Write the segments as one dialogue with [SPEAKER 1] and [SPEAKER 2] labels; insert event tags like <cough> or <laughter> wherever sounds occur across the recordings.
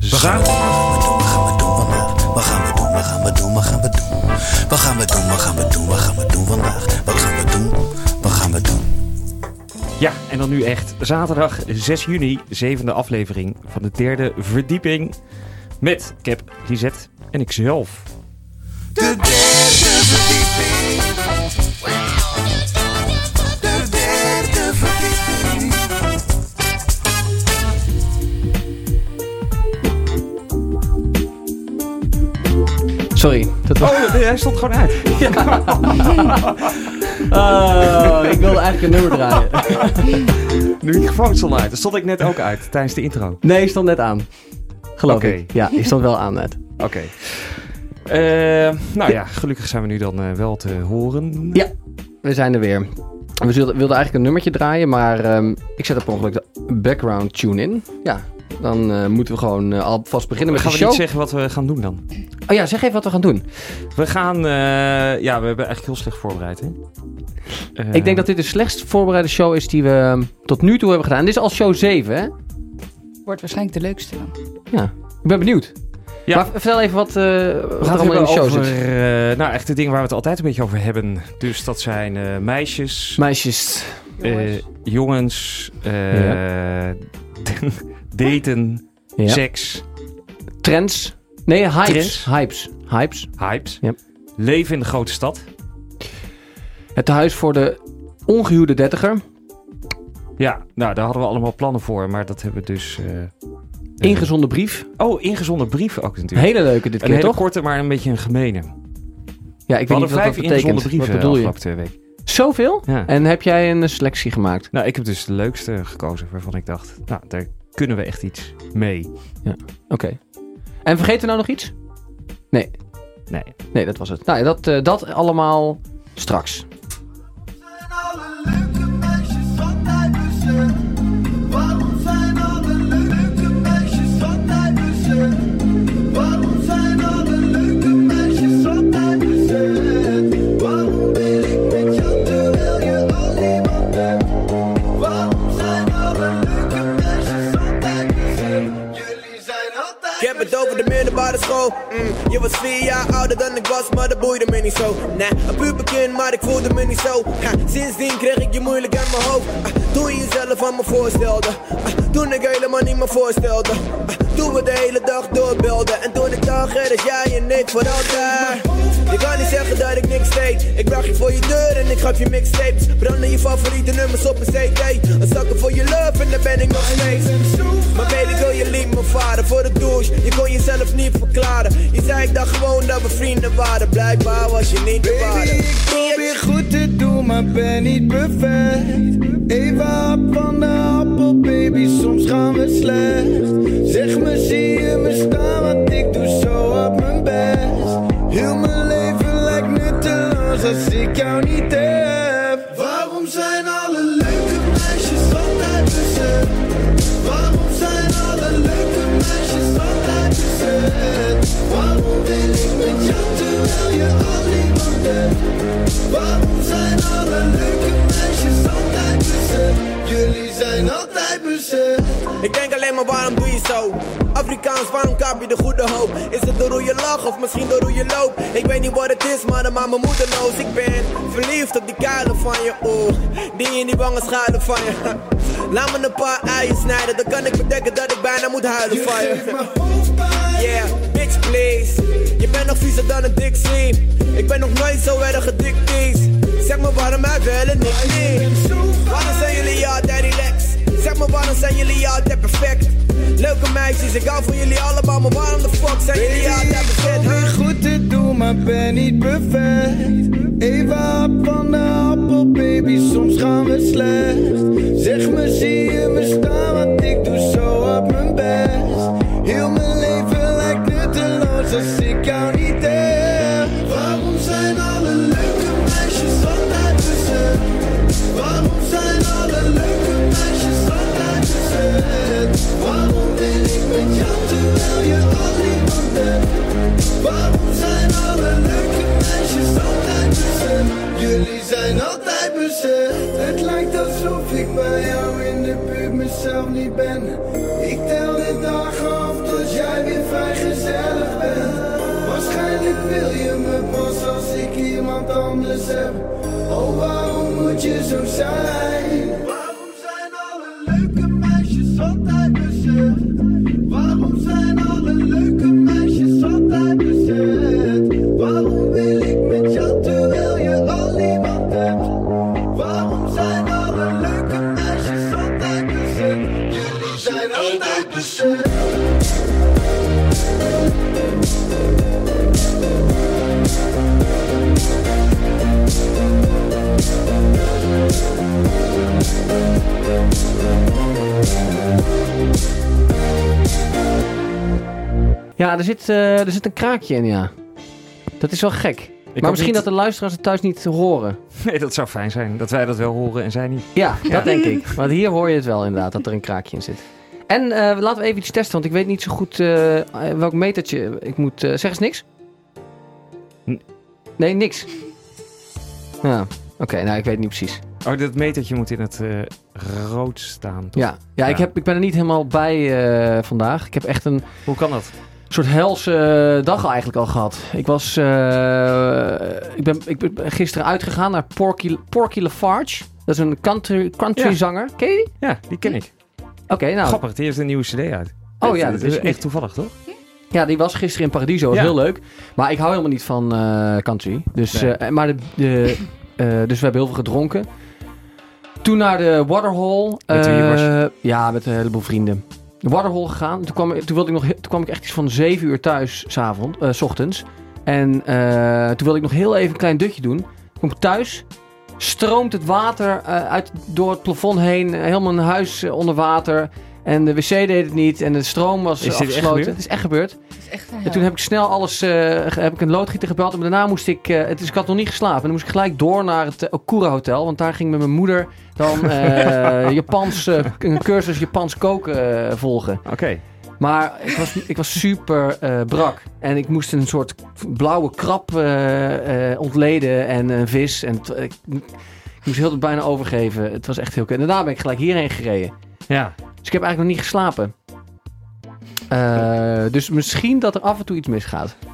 [SPEAKER 1] We gaan.
[SPEAKER 2] Wat gaan we doen? Wat gaan we doen? Wat gaan we doen? Wat gaan we doen? Wat gaan we doen? Wat gaan we doen vandaag? Wat gaan we doen? Wat gaan we doen?
[SPEAKER 1] Ja, en dan nu echt. Zaterdag 6 juni, zevende aflevering van de derde verdieping. Met Cap, Lisette en
[SPEAKER 3] <laughs>
[SPEAKER 1] ikzelf.
[SPEAKER 2] De derde verdieping. De derde verdieping.
[SPEAKER 3] Sorry. Dat was...
[SPEAKER 1] Oh, nee, hij stond gewoon
[SPEAKER 3] <laughs>
[SPEAKER 1] uit.
[SPEAKER 3] Oh, ik wilde eigenlijk een nummer draaien.
[SPEAKER 1] Nu je gewoon stond uit. Dat stond ik net ook uit tijdens de intro.
[SPEAKER 3] Nee, ik stond net aan. Geloof
[SPEAKER 1] Oké.
[SPEAKER 3] ik. Ja, ik stond wel aan net.
[SPEAKER 1] Oké. Eh, nou ja, gelukkig zijn we nu dan eh, wel te horen.
[SPEAKER 3] Ja, we zijn er weer. We zulden- wilden eigenlijk een nummertje draaien, maar ehm, ik zet er per ongeluk de background tune in. Ja, dan eh, moeten we gewoon eh, alvast beginnen met
[SPEAKER 1] Gaan
[SPEAKER 3] de
[SPEAKER 1] we
[SPEAKER 3] show.
[SPEAKER 1] niet zeggen wat we gaan doen dan?
[SPEAKER 3] Oh ja, zeg even wat we gaan doen.
[SPEAKER 1] We gaan... eh, ja, we hebben eigenlijk heel slecht voorbereid, hè? Eh,
[SPEAKER 3] Ik denk dat dit de slechtst voorbereide show is die we ehm, tot nu toe hebben gedaan. Dit is al show 7, hè?
[SPEAKER 4] Wordt waarschijnlijk de leukste dan.
[SPEAKER 3] Ja, ik ben benieuwd.
[SPEAKER 1] Ja.
[SPEAKER 3] Maar vertel even wat, eh
[SPEAKER 1] We
[SPEAKER 3] wat er
[SPEAKER 1] gaan
[SPEAKER 3] allemaal in de show
[SPEAKER 1] over,
[SPEAKER 3] zit.
[SPEAKER 1] eh, nou, echt de dingen waar we het altijd een beetje over hebben. Dus dat zijn eh, meisjes,
[SPEAKER 3] Meisjes.
[SPEAKER 1] eh, jongens, eh, <laughs> daten,
[SPEAKER 3] Ja.
[SPEAKER 1] seks,
[SPEAKER 3] Trends. Nee, hypes.
[SPEAKER 1] Trends?
[SPEAKER 3] Hypes. Hypes.
[SPEAKER 1] hypes.
[SPEAKER 3] Yep.
[SPEAKER 1] Leven in de grote stad.
[SPEAKER 3] Het tehuis voor de ongehuwde dertiger.
[SPEAKER 1] Ja, nou, daar hadden we allemaal plannen voor, maar dat hebben we dus... eh, eh,
[SPEAKER 3] Ingezonde brief.
[SPEAKER 1] Oh, ingezonden brieven ook
[SPEAKER 3] Een
[SPEAKER 1] natuurlijk.
[SPEAKER 3] hele leuke dit
[SPEAKER 1] een
[SPEAKER 3] keer,
[SPEAKER 1] hele
[SPEAKER 3] toch?
[SPEAKER 1] korte, maar een beetje een gemene.
[SPEAKER 3] Ja, ik
[SPEAKER 1] We
[SPEAKER 3] weet
[SPEAKER 1] hadden
[SPEAKER 3] niet wat
[SPEAKER 1] vijf
[SPEAKER 3] dat
[SPEAKER 1] ingezonden
[SPEAKER 3] betekent.
[SPEAKER 1] brieven
[SPEAKER 3] wat bedoel je?
[SPEAKER 1] afgelopen twee weken.
[SPEAKER 3] Zoveel?
[SPEAKER 1] Ja.
[SPEAKER 3] En heb jij een selectie gemaakt?
[SPEAKER 1] Nou, ik heb dus de leukste gekozen waarvan ik dacht, nou, daar kunnen we echt iets mee.
[SPEAKER 3] Oké. En vergeet er nou nog iets?
[SPEAKER 1] Nee,
[SPEAKER 3] Nee, dat was het. Nou, ja, dat, eh, dat allemaal straks.
[SPEAKER 5] zijn alle leuke meisjes altijd bezet? Waarom zijn alle leuke meisjes altijd bezet? Waarom zijn alle leuke meisjes altijd bezet? Waarom ben ik met jou terwijl je al iemand bent? Waarom zijn alle leuke meisjes altijd bezet? Jullie zijn altijd
[SPEAKER 6] Ik heb het over de middelbare school. Mm, Je was vier jaar ouder dan ik was, maar dat boeide me niet zo. Nah, een puberkind, maar ik voelde me niet zo. Ha, sindsdien kreeg ik je moeilijk aan mijn hoofd. Ah, toen je jezelf aan me voorstelde. Ah, toen ik helemaal niet meer voorstelde. Ah, toen we de hele dag doorbelden. En toen ik dacht, er is jij en ik voor altijd. Je kan niet zeggen dat ik niks deed. Ik bracht je voor je deur en ik gaf je mixtapes. Branden je favoriete nummers op een CD. Een zakken voor je love en daar ben ik nog steeds. Maar baby, girl, je liet me varen voor de douche. Je kon jezelf niet verklaren. Je zei ik dacht gewoon dat we vrienden waren. Blijkbaar was je niet de
[SPEAKER 5] Baby,
[SPEAKER 6] ware.
[SPEAKER 5] ik probeer goed te doen, maar ben niet perfect. Even hap van de appel, baby, soms gaan we slecht. Zeg me, zie je me staan, want ik doe zo op mijn best. Heel mijn leven lijkt nutteloos als ik jou niet heb. Waarom zijn alle leuke meisjes altijd bezet? Waarom zijn alle leuke meisjes altijd bezet? Waarom wil ik met jou terwijl je al niemand bent? Waarom zijn alle leuke meisjes altijd bezet? Jullie zijn altijd bezet.
[SPEAKER 6] Ik denk alleen maar waarom doe je zo? Afrikaans, waarom kap je de goede hoop? Is het door hoe je lacht of misschien door hoe je loopt? Ik weet niet wat het is, maar dan maakt me moedeloos. Ik ben verliefd op die kuilen van je oor. Die in die wangen schuilen van je. <laughs> Laat me een paar eieren snijden, dan kan ik bedenken dat ik bijna moet huilen
[SPEAKER 5] Je
[SPEAKER 6] van je.
[SPEAKER 5] geeft me hoofdpijn.
[SPEAKER 6] Yeah, bitch please. Je bent nog viezer dan een Dixie. Ik ben nog nooit zo erg gedicteerd. Zeg me waarom hij wel en ik niet. Waarom zijn jullie altijd relaxed? Zeg me waarom zijn jullie altijd perfect? Leuke meisjes, ik hou van jullie allemaal, maar waarom de fuck zijn jullie altijd bezet?
[SPEAKER 5] probeer
[SPEAKER 6] huh?
[SPEAKER 5] goed te doen, maar ben niet perfect. Even hap van de appel, baby, soms gaan we slecht. Zeg me, zie je me staan, want ik doe zo op mijn best. Heel mijn leven lijkt nutteloos als ik jou niet heb. Waarom zijn alle leuke meisjes altijd bezet? Waarom zijn alle leuke meisjes altijd bezet? Waarom ben ik met jou terwijl je al niemand bent? Waarom zijn alle leuke meisjes altijd bezet? Jullie zijn altijd bezet. Het lijkt alsof ik bij jou in de buurt mezelf niet ben. Ik tel de dagen af tot jij weer wil je me pas als ik iemand anders heb? Oh, waarom moet je zo zijn? Waarom zijn alle leuke meisjes altijd bezet? Waarom zijn alle leuke meisjes altijd bezet? Waarom wil ik met jou terwijl je al niemand hebt? Waarom zijn alle leuke meisjes altijd bezet? Jullie zijn altijd bezet.
[SPEAKER 3] Ja, er zit, eh, er zit een kraakje in, ja. Dat is wel gek. maar
[SPEAKER 1] hoop
[SPEAKER 3] misschien
[SPEAKER 1] niet-
[SPEAKER 3] dat de luisteraars het thuis niet horen.
[SPEAKER 1] <laughs> Nee, dat zou fijn zijn. Dat wij dat wel horen en zij niet.
[SPEAKER 3] Ja, dat denk
[SPEAKER 1] <laughs>
[SPEAKER 3] ik. Want hier hoor je het wel inderdaad, dat er een kraakje in zit. En eh, laten we even iets testen, want ik weet niet zo goed eh, welk metertje ik moet... eh, zeg eens niks.
[SPEAKER 1] N-
[SPEAKER 3] Nee, niks. Ja, oké, nou ik weet niet precies.
[SPEAKER 1] Oh, dat metertje moet in het eh, rood staan. toch?
[SPEAKER 3] Ja, ja, Ik,
[SPEAKER 1] Ja.
[SPEAKER 3] heb, ik ben er niet helemaal bij eh, vandaag. Ik heb echt een
[SPEAKER 1] Hoe kan dat?
[SPEAKER 3] soort helse eh, dag eigenlijk al gehad. Ik was... eh, ik, ben, ik ben gisteren uitgegaan naar Porky, Porky Lafarge. Dat is een country, country
[SPEAKER 1] Ja.
[SPEAKER 3] zanger. Ken je die?
[SPEAKER 1] Ja, die ken ik.
[SPEAKER 3] Oké, nou...
[SPEAKER 1] Grappig, die heeft een nieuwe cd uit.
[SPEAKER 3] Oh ja, dat is
[SPEAKER 1] echt
[SPEAKER 3] echt...
[SPEAKER 1] toevallig, toch?
[SPEAKER 3] Ja, die was gisteren in Paradiso. was
[SPEAKER 1] Ja.
[SPEAKER 3] heel leuk. Maar ik hou helemaal niet van eh, country. Dus,
[SPEAKER 1] Nee.
[SPEAKER 3] eh, maar de, de, eh, dus we hebben heel veel gedronken. Toen naar de Waterhole.
[SPEAKER 1] Met wie
[SPEAKER 3] eh,
[SPEAKER 1] was
[SPEAKER 3] Ja, met een heleboel vrienden. De Waterhole gegaan. Toen kwam, ik- toen, wilde ik nog, he- toen kwam ik echt iets van 7 uur thuis, s'avond, eh, s ochtends. En eh, toen wilde ik nog heel even een klein dutje doen. Kom ik thuis, stroomt het water eh, uit, door het plafond heen. eh, Helemaal een huis eh, onder water. En de wc deed het niet. En de stroom was
[SPEAKER 1] Is dit
[SPEAKER 3] eh,
[SPEAKER 1] echt
[SPEAKER 3] afgesloten.
[SPEAKER 1] gebeurd?
[SPEAKER 3] Het is echt gebeurd.
[SPEAKER 4] Dat is echt een
[SPEAKER 3] En toen heb ik snel alles, eh, ge- heb ik een loodgieter gebeld. En daarna moest ik, eh, het is, ik had nog niet geslapen. En dan moest ik gelijk door naar het eh, Okura Hotel. Want daar ging met mijn moeder
[SPEAKER 1] <laughs>
[SPEAKER 3] dan eh, Japans, eh, k- een cursus Japans koken eh, volgen.
[SPEAKER 1] Oké.
[SPEAKER 3] Maar ik was, ik was super eh, brak. En ik moest een soort blauwe krab eh, eh, ontleden en een vis. En het- ik, ik moest heel bijna overgeven. Het was echt heel kut. En daarna ben ik gelijk hierheen gereden.
[SPEAKER 1] Ja.
[SPEAKER 3] Dus ik heb eigenlijk nog niet geslapen. Eh, dus misschien dat er af en toe iets misgaat
[SPEAKER 1] Ja,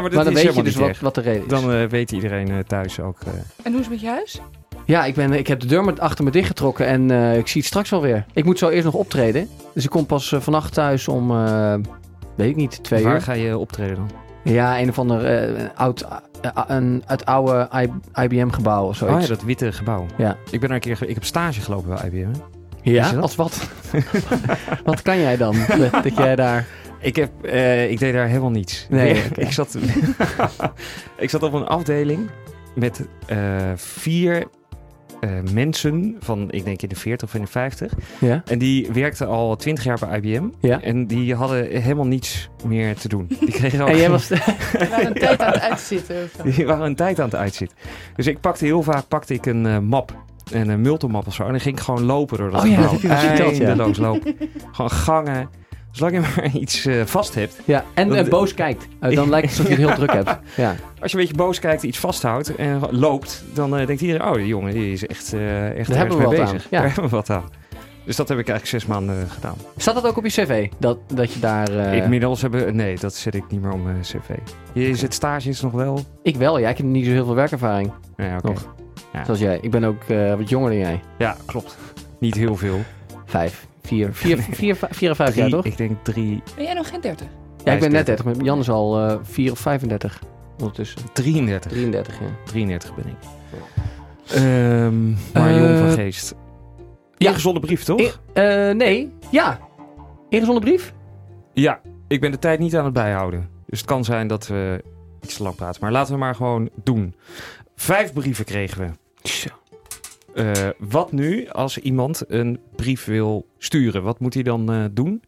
[SPEAKER 1] maar dat
[SPEAKER 3] maar dan
[SPEAKER 1] is
[SPEAKER 3] weet je
[SPEAKER 1] helemaal
[SPEAKER 3] dus
[SPEAKER 1] niet
[SPEAKER 3] wat,
[SPEAKER 1] erg.
[SPEAKER 3] wat de reden is.
[SPEAKER 1] Dan eh, weet iedereen eh, thuis ook. eh,
[SPEAKER 4] En hoe is het met je huis?
[SPEAKER 3] Ja, ik, ben, ik heb de deur met, achter me dichtgetrokken en eh, ik zie het straks wel weer. Ik moet zo eerst nog optreden. Dus ik kom pas eh, vannacht thuis om, eh, weet ik niet, twee
[SPEAKER 1] waar
[SPEAKER 3] uur.
[SPEAKER 1] ga je optreden dan?
[SPEAKER 3] Ja, een of ander eh, een oud, eh, een, het oude IBM-gebouw of zoiets.
[SPEAKER 1] Oh ja, dat witte gebouw.
[SPEAKER 3] Ja.
[SPEAKER 1] Ik ben er een keer. ge- Ik heb stage gelopen bij IBM. hè.
[SPEAKER 3] Ja,
[SPEAKER 1] Is dat?
[SPEAKER 3] als wat? <laughs> wat kan jij dan? dat jij daar...
[SPEAKER 1] Ik, heb, eh, ik deed daar helemaal niets.
[SPEAKER 3] Nee,
[SPEAKER 1] ik,
[SPEAKER 3] oké.
[SPEAKER 1] ik zat, <laughs> ik zat op een afdeling met eh, vier eh, mensen van, ik denk in de 40 of in de 50.
[SPEAKER 3] Ja?
[SPEAKER 1] En die werkten al 20 jaar bij IBM.
[SPEAKER 3] Ja.
[SPEAKER 1] En die hadden helemaal niets meer te doen. Die, kregen al
[SPEAKER 3] En jij
[SPEAKER 1] geen-
[SPEAKER 4] <laughs>
[SPEAKER 3] was...
[SPEAKER 4] We
[SPEAKER 1] <laughs>
[SPEAKER 4] waren een tijd aan het uitzitten.
[SPEAKER 1] die waren een tijd aan het uitzitten. Dus ik pakte heel vaak pakte ik een eh, map. Een eh, multimap of zo. En dan ging ik gewoon lopen door dat
[SPEAKER 3] Oh ja,
[SPEAKER 1] gebouw.
[SPEAKER 3] dat heb je wel verteld, ja.
[SPEAKER 1] Eindeloos lopen. gewoon gangen. Zolang je maar <laughs> iets eh, vast hebt.
[SPEAKER 3] ja, en
[SPEAKER 1] Dat-
[SPEAKER 3] eh, boos kijkt.
[SPEAKER 1] <laughs>
[SPEAKER 3] Eh, dan lijkt het alsof je het heel druk hebt. Ja.
[SPEAKER 1] Als je een beetje boos kijkt, iets vasthoudt en loopt, dan eh, denkt iedereen, oh, die jongen die is echt, eh echt
[SPEAKER 3] Daar hebben
[SPEAKER 1] ergens
[SPEAKER 3] we
[SPEAKER 1] mee
[SPEAKER 3] wat
[SPEAKER 1] bezig.
[SPEAKER 3] aan, ja.
[SPEAKER 1] Daar hebben we wat aan. Dus dat heb ik eigenlijk zes maanden eh, gedaan.
[SPEAKER 3] Staat dat ook op je cv? Dat, dat je daar... eh,
[SPEAKER 1] Inmiddels hebben... Nee, dat zet ik niet meer op mijn cv. Je zit stages nog wel?
[SPEAKER 3] Ik wel, ja. Ik heb niet zo heel veel werkervaring.
[SPEAKER 1] Nee, oké.
[SPEAKER 3] Nog.
[SPEAKER 1] Ja.
[SPEAKER 3] Zoals jij. Ik ben ook eh, wat jonger dan jij.
[SPEAKER 1] Ja, klopt. Niet heel veel.
[SPEAKER 3] Vijf, vier,
[SPEAKER 1] <laughs>
[SPEAKER 3] vier, vier, vijf- vier of vijf jaar,
[SPEAKER 1] Drie-
[SPEAKER 3] toch?
[SPEAKER 1] Ik denk drie,
[SPEAKER 4] Ben jij nog geen 30?
[SPEAKER 3] Ja, ik ben net
[SPEAKER 1] 30.
[SPEAKER 3] 30. maar Jan is al eh, vier of 35 ondertussen.
[SPEAKER 1] 33.
[SPEAKER 3] 33, ja.
[SPEAKER 1] 33 ben ik. Ehm maar jong van
[SPEAKER 3] Eh,
[SPEAKER 1] geest.
[SPEAKER 3] ja.
[SPEAKER 1] Ingezonde brief, toch?
[SPEAKER 3] In- eh, nee, ja. Ingezonden brief?
[SPEAKER 1] Ja, ik ben de tijd niet aan het bijhouden. Dus het kan zijn dat we iets te lang praten. Maar laten we maar gewoon doen. Vijf brieven kregen we. Eh, wat nu als iemand een brief wil sturen? Wat moet hij dan eh, doen?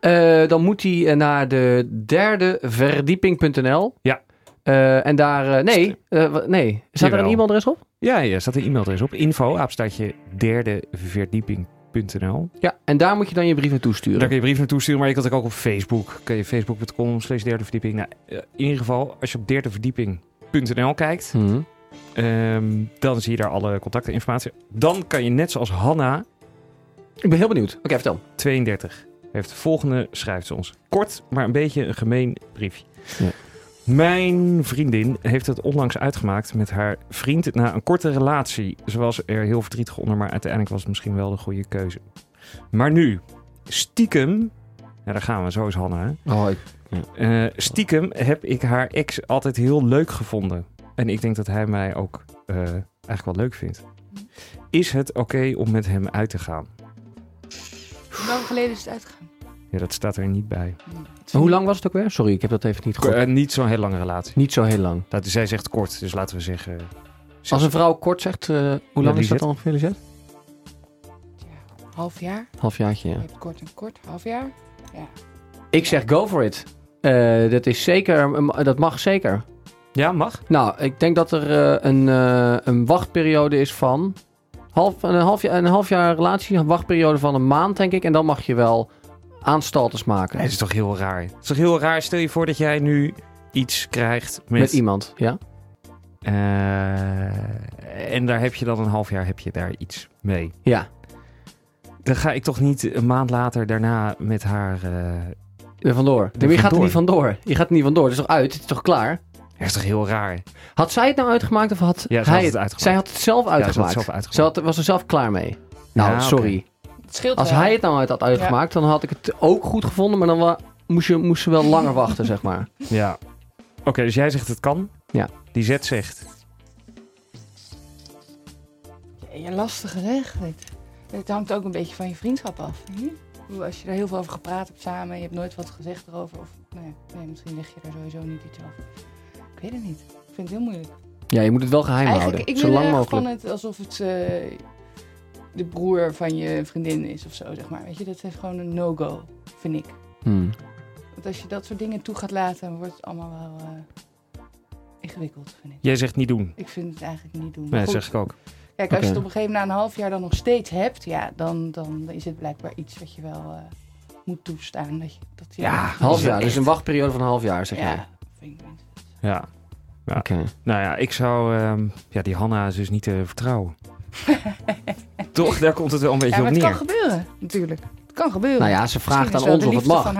[SPEAKER 3] Eh, dan moet hij eh, naar de derde verdieping.nl.
[SPEAKER 1] Ja.
[SPEAKER 3] Eh, en daar... eh, nee, eh, wa- nee. Staat er een
[SPEAKER 1] Jawel.
[SPEAKER 3] e-mailadres op?
[SPEAKER 1] Ja, ja, staat een e-mailadres op. Info, apenstaartje derdeverdieping.nl.
[SPEAKER 3] Ja. En daar moet je dan je brief naartoe
[SPEAKER 1] Daar
[SPEAKER 3] sturen.
[SPEAKER 1] kun je brieven naartoe sturen, maar je kan het ook op Facebook. Kun je facebook.com slash derdeverdieping. Nou, eh, in ieder geval, als je op derdeverdieping.nl kijkt,
[SPEAKER 3] Mhm.
[SPEAKER 1] Ehm, dan zie je daar alle contactinformatie. Dan kan je net zoals Hanna,
[SPEAKER 3] Ik ben heel benieuwd. Oké, vertel.
[SPEAKER 1] 32, heeft de volgende schrijft ze ons. Kort, maar een beetje een gemeen briefje.
[SPEAKER 3] Ja.
[SPEAKER 1] Mijn vriendin heeft het onlangs uitgemaakt met haar vriend na een korte relatie. Ze was er heel verdrietig onder, maar uiteindelijk was het misschien wel de goede keuze. Maar nu, stiekem. Ja, daar gaan we, zo is Hanna. Hè?
[SPEAKER 3] Oh, ik-
[SPEAKER 1] Eh, stiekem heb ik haar ex altijd heel leuk gevonden. En ik denk dat hij mij ook eh, eigenlijk wel leuk vindt. Is het oké om met hem uit te gaan?
[SPEAKER 4] Hoe lang geleden is het uitgegaan?
[SPEAKER 1] Ja, dat staat er niet bij.
[SPEAKER 3] maar hoe lang was het ook weer? Sorry, ik heb dat even niet gehoord.
[SPEAKER 1] Eh, niet zo'n hele lange relatie.
[SPEAKER 3] Niet zo heel lang.
[SPEAKER 1] Dat, zij zegt kort, dus laten we zeggen... zes-
[SPEAKER 3] Als een vrouw kort zegt, eh, hoe lang is
[SPEAKER 1] Lisette.
[SPEAKER 3] dat dan ongeveer, Lisette?
[SPEAKER 4] Half jaar?
[SPEAKER 3] Halfjaartje, ja.
[SPEAKER 4] Je hebt kort en kort. Half jaar?
[SPEAKER 3] Ik zeg go for it. Eh, dat is zeker, eh, dat mag zeker.
[SPEAKER 1] Ja, mag.
[SPEAKER 3] Nou, ik denk dat er eh, een, eh, een wachtperiode is van... Half, een, half jaar, een half jaar relatie, een wachtperiode van een maand, denk ik. En dan mag je wel aanstaltes maken.
[SPEAKER 1] Nee, dat is toch heel raar. Het is toch heel raar, stel je voor dat jij nu iets krijgt met...
[SPEAKER 3] met... iemand, ja.
[SPEAKER 1] Eh, en daar heb je dan een half jaar heb je daar iets mee.
[SPEAKER 3] Ja,
[SPEAKER 1] Dan ga ik toch niet een maand later daarna met haar... eh,
[SPEAKER 3] er vandoor.
[SPEAKER 1] Er
[SPEAKER 3] Maar je gaat er
[SPEAKER 1] vandoor.
[SPEAKER 3] niet vandoor. Je gaat er niet vandoor. Het is toch uit? Het is toch klaar?
[SPEAKER 1] Dat is toch heel raar?
[SPEAKER 3] Had zij het nou uitgemaakt of had
[SPEAKER 1] Ja, ze
[SPEAKER 3] hij
[SPEAKER 1] had het
[SPEAKER 3] het
[SPEAKER 1] uitgemaakt.
[SPEAKER 3] Zij had het zelf
[SPEAKER 1] had het
[SPEAKER 3] uitgemaakt.
[SPEAKER 1] zelf uitgemaakt.
[SPEAKER 3] Ze had- was er zelf klaar mee. Nou,
[SPEAKER 1] Ja, oké.
[SPEAKER 3] sorry.
[SPEAKER 4] Het scheelt
[SPEAKER 3] Als
[SPEAKER 4] wel.
[SPEAKER 3] hij het nou uit had uitgemaakt, dan had ik het ook goed gevonden. Maar dan wa- moest, je, moest ze wel
[SPEAKER 4] <laughs>
[SPEAKER 3] langer wachten, zeg maar.
[SPEAKER 1] Ja. Oké, dus jij zegt het kan.
[SPEAKER 3] Ja.
[SPEAKER 1] Die Z zegt.
[SPEAKER 4] Ja, lastige regeling. Het hangt ook een beetje van je vriendschap af. Hm? Ik bedoel, Als je er heel veel over gepraat hebt samen, je hebt nooit wat gezegd erover. Of nou ja, nee, misschien leg je er sowieso niet iets over. Ik weet het niet. Ik vind het heel moeilijk.
[SPEAKER 3] Ja, je moet het wel geheim
[SPEAKER 4] Eigenlijk,
[SPEAKER 3] houden.
[SPEAKER 4] ik
[SPEAKER 3] Zo
[SPEAKER 4] wil
[SPEAKER 3] lang
[SPEAKER 4] erg
[SPEAKER 3] mogelijk.
[SPEAKER 4] van het alsof het eh, de broer van je vriendin is of zo, zeg maar. Weet je, dat is gewoon een no-go, vind ik.
[SPEAKER 3] Hmm.
[SPEAKER 4] Want als je dat soort dingen toe gaat laten, wordt het allemaal wel eh, ingewikkeld, vind ik.
[SPEAKER 1] Jij zegt niet doen.
[SPEAKER 4] Ik vind het eigenlijk niet doen.
[SPEAKER 1] Nee,
[SPEAKER 4] Maar
[SPEAKER 1] dat
[SPEAKER 4] goed,
[SPEAKER 1] zeg ik ook.
[SPEAKER 4] Kijk, als
[SPEAKER 3] Oké.
[SPEAKER 4] je het op een gegeven moment na een half jaar dan nog steeds hebt, ja, dan, dan is het blijkbaar iets wat je wel eh, moet toestaan. Dat je, dat je
[SPEAKER 1] Ja,
[SPEAKER 3] Half jaar, dus
[SPEAKER 4] Echt.
[SPEAKER 3] een wachtperiode van een half jaar, zeg jij.
[SPEAKER 4] Ja, vind ik niet.
[SPEAKER 1] Ja.
[SPEAKER 3] Oké.
[SPEAKER 1] Nou ja, ik zou... ehm, ja, die Hanna is dus niet te vertrouwen. <laughs> Toch, daar komt het wel een beetje
[SPEAKER 4] Ja, maar
[SPEAKER 1] op
[SPEAKER 4] het
[SPEAKER 1] neer.
[SPEAKER 4] kan gebeuren, natuurlijk. Het kan gebeuren.
[SPEAKER 3] Nou ja, ze vraagt aan
[SPEAKER 4] Misschien is
[SPEAKER 3] ons of
[SPEAKER 4] wel de
[SPEAKER 3] het
[SPEAKER 4] liefde
[SPEAKER 3] mag.
[SPEAKER 4] van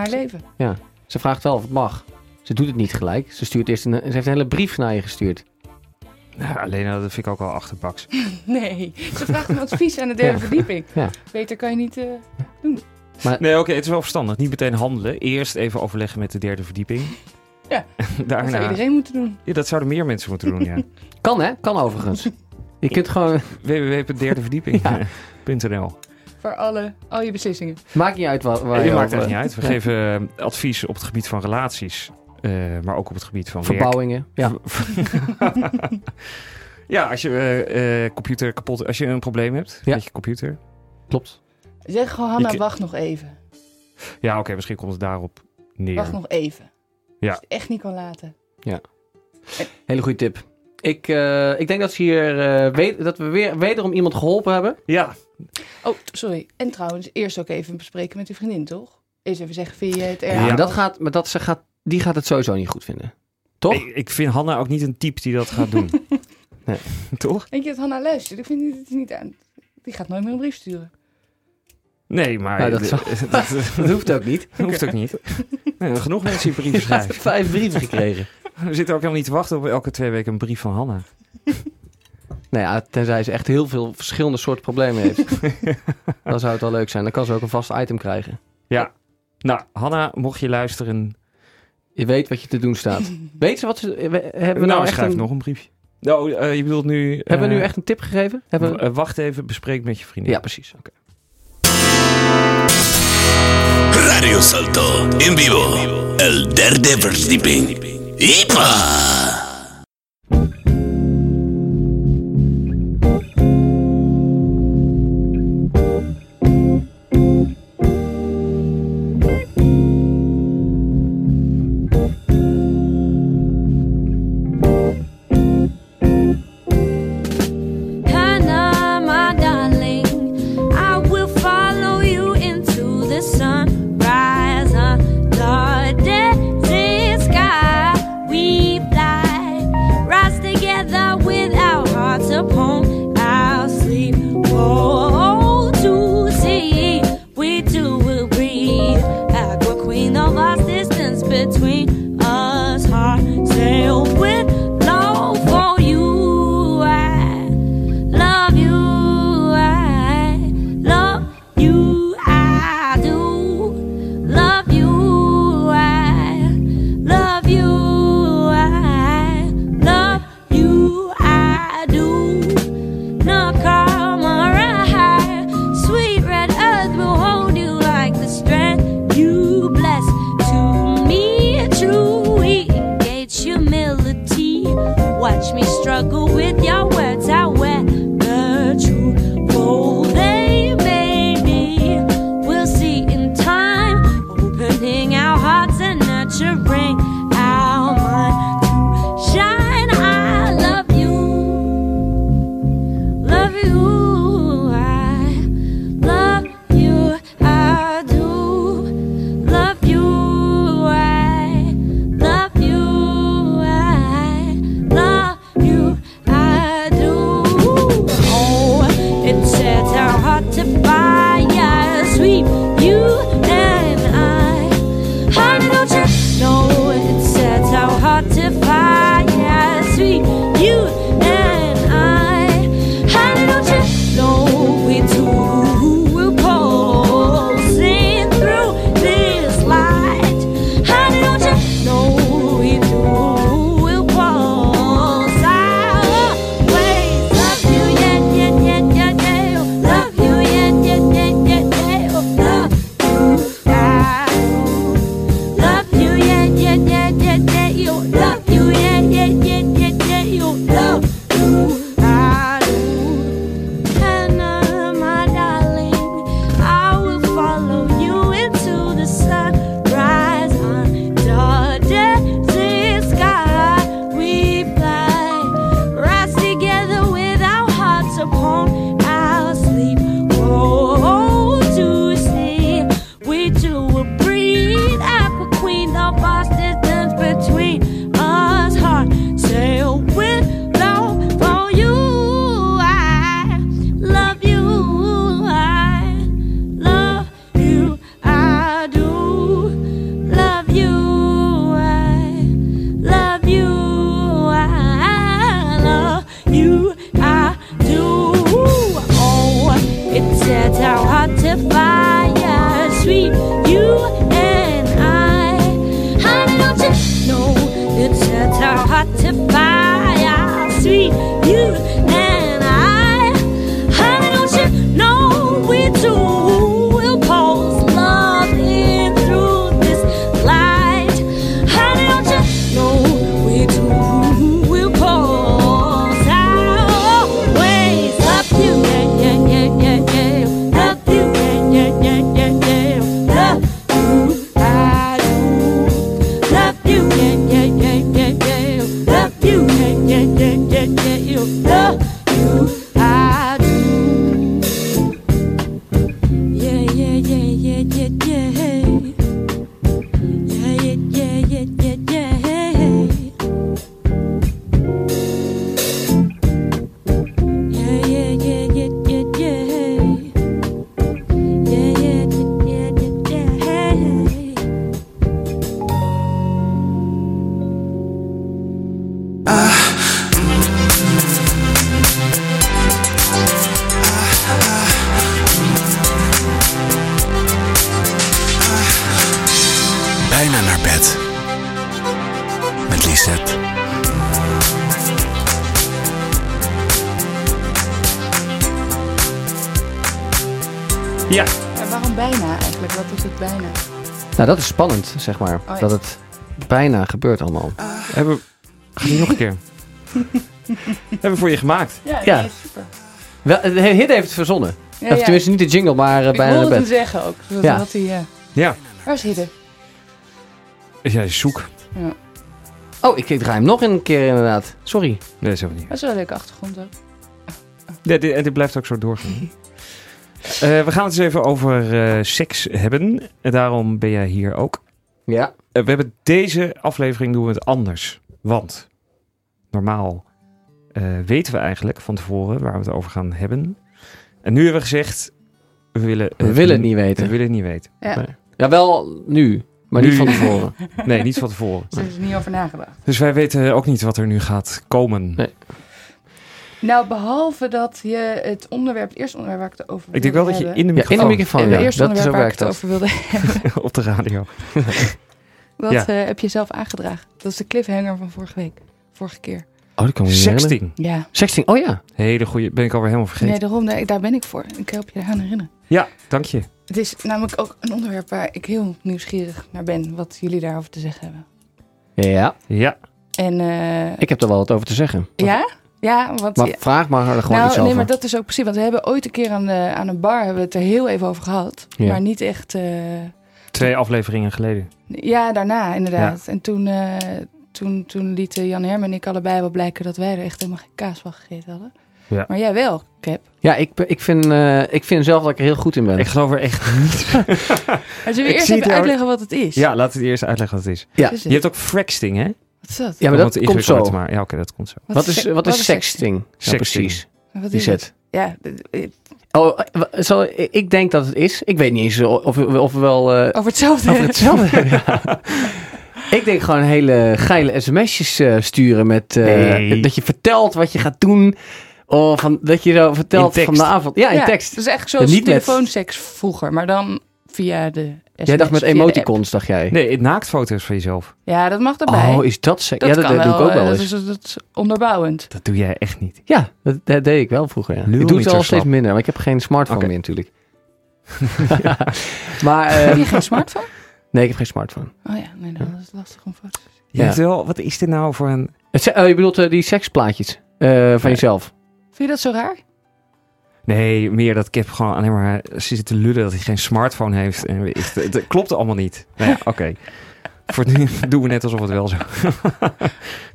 [SPEAKER 4] haar leven.
[SPEAKER 3] Ze vraagt wel of het mag. Ze doet het niet gelijk. Ze, stuurt eerst een, ze heeft een hele brief naar je gestuurd.
[SPEAKER 1] Nou, alleen dat vind ik ook wel achterbaks.
[SPEAKER 4] <laughs> Nee, ze vraagt om advies aan de derde
[SPEAKER 3] Ja.
[SPEAKER 4] verdieping.
[SPEAKER 3] Ja.
[SPEAKER 4] Beter kan je niet... eh,
[SPEAKER 1] Nee, oké, het is wel verstandig. Niet meteen handelen. Eerst even overleggen met de derde verdieping.
[SPEAKER 4] <laughs> Ja.
[SPEAKER 1] En
[SPEAKER 4] dat zou
[SPEAKER 1] Daarna.
[SPEAKER 4] iedereen moeten doen.
[SPEAKER 1] Ja, dat zouden meer mensen moeten doen,
[SPEAKER 4] <laughs>
[SPEAKER 1] ja.
[SPEAKER 3] Kan hè? Kan overigens. Je kunt gewoon...
[SPEAKER 1] www.derdeverdieping.nl
[SPEAKER 4] Voor alle, al je beslissingen.
[SPEAKER 3] Maakt niet uit waar, waar
[SPEAKER 1] Je
[SPEAKER 3] je
[SPEAKER 1] maakt
[SPEAKER 3] over-
[SPEAKER 1] het niet uit. We
[SPEAKER 3] <laughs> Ja.
[SPEAKER 1] geven eh, advies op het gebied van relaties. eh, maar ook op het gebied van werk.
[SPEAKER 3] Verbouwingen. Ja.
[SPEAKER 1] <laughs> ja, als je eh, eh, computer kapot, als je een probleem hebt
[SPEAKER 3] Ja.
[SPEAKER 1] met je computer.
[SPEAKER 3] Klopt.
[SPEAKER 4] Zeg gewoon,
[SPEAKER 1] Je
[SPEAKER 4] Hanna,
[SPEAKER 1] ki-
[SPEAKER 4] wacht nog even.
[SPEAKER 1] Ja, oké, misschien komt het daarop neer.
[SPEAKER 4] Wacht nog even.
[SPEAKER 1] Ja.
[SPEAKER 4] Als je het echt niet kan laten.
[SPEAKER 1] Eh.
[SPEAKER 3] Hele goede tip. <laughs> Ik, eh, ik denk dat, ze hier, eh, weet, dat we weer, wederom iemand geholpen hebben.
[SPEAKER 1] Ja,
[SPEAKER 4] Oh, t- sorry. En trouwens, eerst ook even bespreken met je vriendin, toch? Eerst even zeggen, vind je het erg?
[SPEAKER 3] Ja, maar dat gaat, maar dat ze gaat, die gaat het sowieso niet goed vinden. Toch?
[SPEAKER 1] ik, ik vind Hanna ook niet een type die dat gaat doen.
[SPEAKER 3] <laughs> Nee.
[SPEAKER 1] <laughs> Toch?
[SPEAKER 4] Denk je dat Hanna luistert? Ik vind het niet aan. Die gaat nooit meer een brief sturen.
[SPEAKER 1] Nee, maar
[SPEAKER 3] Nou, dat
[SPEAKER 1] eh, <laughs>
[SPEAKER 3] zou-
[SPEAKER 1] dat, eh,
[SPEAKER 3] Dat hoeft ook niet.
[SPEAKER 1] <laughs> hoeft ook niet. Nee, genoeg mensen die brieven
[SPEAKER 3] Ze heeft
[SPEAKER 1] schrijven.
[SPEAKER 3] vijf brieven <laughs> gekregen.
[SPEAKER 1] We zitten ook helemaal niet te wachten op elke twee weken een brief van <laughs> Hanna.
[SPEAKER 3] Nou ja, tenzij ze echt heel veel verschillende soorten
[SPEAKER 1] <laughs>
[SPEAKER 3] problemen heeft. dan zou het wel leuk zijn. Dan kan ze ook een vast item krijgen.
[SPEAKER 1] Nou, Hanna, mocht je luisteren,
[SPEAKER 3] Je weet wat je te doen
[SPEAKER 1] <laughs>
[SPEAKER 3] staat. Weet ze wat ze... we- hebben we nou,
[SPEAKER 1] nou,
[SPEAKER 3] echt
[SPEAKER 1] schrijf
[SPEAKER 3] een,
[SPEAKER 1] nog een briefje. Nou, eh, je bedoelt nu...
[SPEAKER 3] Hebben we nu
[SPEAKER 1] eh,
[SPEAKER 3] echt een tip gegeven? Hebben we-
[SPEAKER 1] w- eh, wacht even, bespreek met je vriendin.
[SPEAKER 3] ja, precies. Oké.
[SPEAKER 2] Radio Salto, en vivo, el derde verdieping. ¡Ipa!
[SPEAKER 7] Hannah, my darling, I will follow you into the sunrise under the desert sky. We fly Oh, Oh, Oh, got to buy our sweet you and I. Honey, don't you know we two will pause love in through this light? Honey, don't you know we two will pause always love you, yeah, yeah, yeah, yeah, yeah. Love you, yeah, yeah, yeah, yeah, yeah. Love you, I do. Love you, yeah, yeah, yeah, yeah, yeah. Love you, yeah, yeah, yeah, yeah, yeah, yeah. Love you, I do. Yeah, yeah, yeah, yeah, yeah, yeah. Yeah, yeah, yeah, yeah, yeah, yeah. Yeah, yeah, yeah, yeah, yeah, yeah. Yeah, yeah, yeah, yeah, yeah, yeah.
[SPEAKER 2] Bijna naar bed. Met Lisette.
[SPEAKER 1] Ja.
[SPEAKER 4] Ja, waarom bijna eigenlijk? Wat is het bijna?
[SPEAKER 3] Nou, dat is spannend, zeg maar.
[SPEAKER 4] Oh ja.
[SPEAKER 3] Dat het bijna gebeurt allemaal.
[SPEAKER 1] Hebben we... Ga je nog een
[SPEAKER 4] <laughs>
[SPEAKER 1] keer. Hebben we voor je gemaakt.
[SPEAKER 4] Ja,
[SPEAKER 3] Ja.
[SPEAKER 4] ja. super.
[SPEAKER 3] Wel, de hit heeft het verzonnen.
[SPEAKER 4] Ja,
[SPEAKER 3] Of
[SPEAKER 4] ja.
[SPEAKER 3] tenminste niet de jingle, maar eh,
[SPEAKER 4] Ik
[SPEAKER 3] bijna
[SPEAKER 4] wilde
[SPEAKER 3] naar
[SPEAKER 4] het hem
[SPEAKER 3] bed.
[SPEAKER 4] zeggen ook. Dat
[SPEAKER 3] Ja.
[SPEAKER 4] had hij, eh,
[SPEAKER 1] Ja.
[SPEAKER 4] waar is Hidde?
[SPEAKER 1] Jij is zoek.
[SPEAKER 3] Oh, ik, ik draai hem nog een keer inderdaad. Sorry.
[SPEAKER 1] Nee, zo niet.
[SPEAKER 4] Dat is wel een leuke achtergrond ook.
[SPEAKER 1] Ja, dit, en dit blijft ook zo
[SPEAKER 3] <laughs>
[SPEAKER 1] doorgaan. Eh, we gaan het eens even over eh, seks hebben. En daarom ben jij hier ook.
[SPEAKER 3] Ja.
[SPEAKER 1] Eh, we hebben deze aflevering doen we het anders. Want normaal eh, weten we eigenlijk van tevoren waar we het over gaan hebben. En nu hebben we gezegd, we willen,
[SPEAKER 3] We willen het niet weten.
[SPEAKER 1] We willen het niet weten.
[SPEAKER 3] Ja, wel nu, maar niet
[SPEAKER 1] Nu.
[SPEAKER 3] van tevoren.
[SPEAKER 1] <laughs> Nee, niet van tevoren.
[SPEAKER 4] Dus er is niet over nagedacht.
[SPEAKER 1] Dus wij weten ook niet wat er nu gaat komen.
[SPEAKER 3] Nee.
[SPEAKER 4] Nou, behalve dat je het onderwerp, het eerste onderwerp waar ik het over
[SPEAKER 1] Ik denk wel dat je in de
[SPEAKER 3] Ja, in de
[SPEAKER 1] microfoon
[SPEAKER 3] microfoon.
[SPEAKER 4] het
[SPEAKER 3] Ja,
[SPEAKER 4] eerste
[SPEAKER 3] dat, zo
[SPEAKER 4] onderwerp waar ik
[SPEAKER 3] werkt
[SPEAKER 4] het
[SPEAKER 3] dat.
[SPEAKER 4] over wilde <laughs>
[SPEAKER 3] <laughs>
[SPEAKER 1] op de radio.
[SPEAKER 4] Dat
[SPEAKER 1] Ja.
[SPEAKER 4] eh, heb je zelf aangedragen. Dat is de cliffhanger van vorige week. Vorige keer.
[SPEAKER 3] Oh, die kan me niet herinneren.
[SPEAKER 1] Sexting.
[SPEAKER 4] Ja.
[SPEAKER 3] Sexting, oh ja.
[SPEAKER 1] Hele goede. Ben ik alweer helemaal vergeten.
[SPEAKER 4] Nee, daarom, daar, daar ben ik voor. Ik help je eraan herinneren.
[SPEAKER 1] Ja, dank je.
[SPEAKER 4] Het is namelijk ook een onderwerp waar ik heel nieuwsgierig naar ben. Wat jullie daarover te zeggen hebben.
[SPEAKER 3] Ja,
[SPEAKER 1] Ja.
[SPEAKER 4] En eh,
[SPEAKER 3] ik heb er wel wat over te zeggen.
[SPEAKER 4] ja? Ja, want...
[SPEAKER 3] Maar
[SPEAKER 4] ja.
[SPEAKER 3] vraag maar er gewoon
[SPEAKER 4] nou,
[SPEAKER 3] iets
[SPEAKER 4] nee,
[SPEAKER 3] over.
[SPEAKER 4] maar dat is ook precies. Want we hebben ooit een keer aan, de, aan een bar hebben we het er heel even over gehad.
[SPEAKER 3] Ja.
[SPEAKER 4] Maar niet echt... eh,
[SPEAKER 1] Twee afleveringen geleden.
[SPEAKER 4] Ja, daarna inderdaad. En toen, eh, toen, toen lieten Jan Herm en ik allebei wel blijken dat wij er echt helemaal geen kaas van gegeten hadden.
[SPEAKER 1] Ja.
[SPEAKER 4] Maar jij wel, Cap.
[SPEAKER 3] Ja, ik, ben- ik, vind, eh, ik vind zelf dat ik er heel goed in ben.
[SPEAKER 1] Ik geloof er echt
[SPEAKER 4] <laughs>
[SPEAKER 1] niet.
[SPEAKER 4] Maar zullen we
[SPEAKER 1] Ik
[SPEAKER 4] eerst
[SPEAKER 1] zie
[SPEAKER 4] even
[SPEAKER 1] het jou-
[SPEAKER 4] uitleggen wat het is?
[SPEAKER 1] Ja, laten we eerst uitleggen wat het is.
[SPEAKER 3] Ja.
[SPEAKER 4] Wat is
[SPEAKER 1] Je
[SPEAKER 4] het?
[SPEAKER 1] hebt ook frexting, hè?
[SPEAKER 4] Wat is dat?
[SPEAKER 3] ja, maar
[SPEAKER 1] Om
[SPEAKER 3] dat
[SPEAKER 1] het
[SPEAKER 3] komt
[SPEAKER 1] ingewikkelder te
[SPEAKER 3] zo.
[SPEAKER 1] maken. Ja, oké, dat komt zo.
[SPEAKER 3] Wat is,
[SPEAKER 4] sek-
[SPEAKER 3] wat is sexting? Ja,
[SPEAKER 1] Sexting.
[SPEAKER 3] precies.
[SPEAKER 4] Wat
[SPEAKER 3] Die
[SPEAKER 4] is het?
[SPEAKER 3] zet.
[SPEAKER 4] Ja, d- d-
[SPEAKER 3] Oh, eh, w- zal, ik ik denk dat het is. Ik weet niet eens of, of we wel eh,
[SPEAKER 4] over hetzelfde. <laughs>
[SPEAKER 3] over hetzelfde hebben. Ja. Ik denk gewoon hele geile sms'jes eh, sturen met... eh,
[SPEAKER 1] Nee.
[SPEAKER 3] Dat je vertelt wat je gaat doen. Of van, dat je zo vertelt
[SPEAKER 1] In tekst.
[SPEAKER 3] vanavond. Ja, in
[SPEAKER 4] Ja,
[SPEAKER 3] tekst.
[SPEAKER 4] Dus echt zoals
[SPEAKER 3] Ja, niet met-
[SPEAKER 4] telefoonseks vroeger, maar dan via de SMS,
[SPEAKER 3] Jij dacht met
[SPEAKER 4] via de app.
[SPEAKER 3] emoticons, dacht jij.
[SPEAKER 1] Nee, naaktfoto's van jezelf.
[SPEAKER 4] Ja, dat mag erbij.
[SPEAKER 3] Oh, is dat seks?
[SPEAKER 4] dat
[SPEAKER 3] Ja, dat,
[SPEAKER 4] kan
[SPEAKER 3] dat doe ik ook
[SPEAKER 4] eh,
[SPEAKER 3] wel
[SPEAKER 4] dat
[SPEAKER 3] eens.
[SPEAKER 4] is- Dat is, onderbouwend.
[SPEAKER 1] Dat doe jij Eh, echt niet.
[SPEAKER 3] Ja, dat, dat deed ik wel vroeger. Ja.
[SPEAKER 1] Lul
[SPEAKER 3] Ik doe
[SPEAKER 1] niet
[SPEAKER 3] het al
[SPEAKER 1] zo
[SPEAKER 3] steeds
[SPEAKER 1] slap.
[SPEAKER 3] minder, maar ik heb geen smartphone
[SPEAKER 1] Oké.
[SPEAKER 3] meer natuurlijk. maar eh,
[SPEAKER 4] Heb je geen smartphone?
[SPEAKER 3] nee, ik heb geen smartphone.
[SPEAKER 4] Oh ja, nee, dan is het lastig om foto's.
[SPEAKER 1] Je
[SPEAKER 3] Ja.
[SPEAKER 1] hebt wel, wat is dit nou voor een...
[SPEAKER 3] Het, se- eh, je bedoelt eh, die seksplaatjes eh, van jezelf?
[SPEAKER 4] Vind je dat zo raar?
[SPEAKER 1] Nee, meer dat ik heb gewoon alleen maar zitten te lullen dat hij geen smartphone heeft. En weet ik- het, het klopt allemaal niet. Nou ja, oké. Voor nu <laughs> doen we net alsof het wel zo
[SPEAKER 3] <laughs> Waar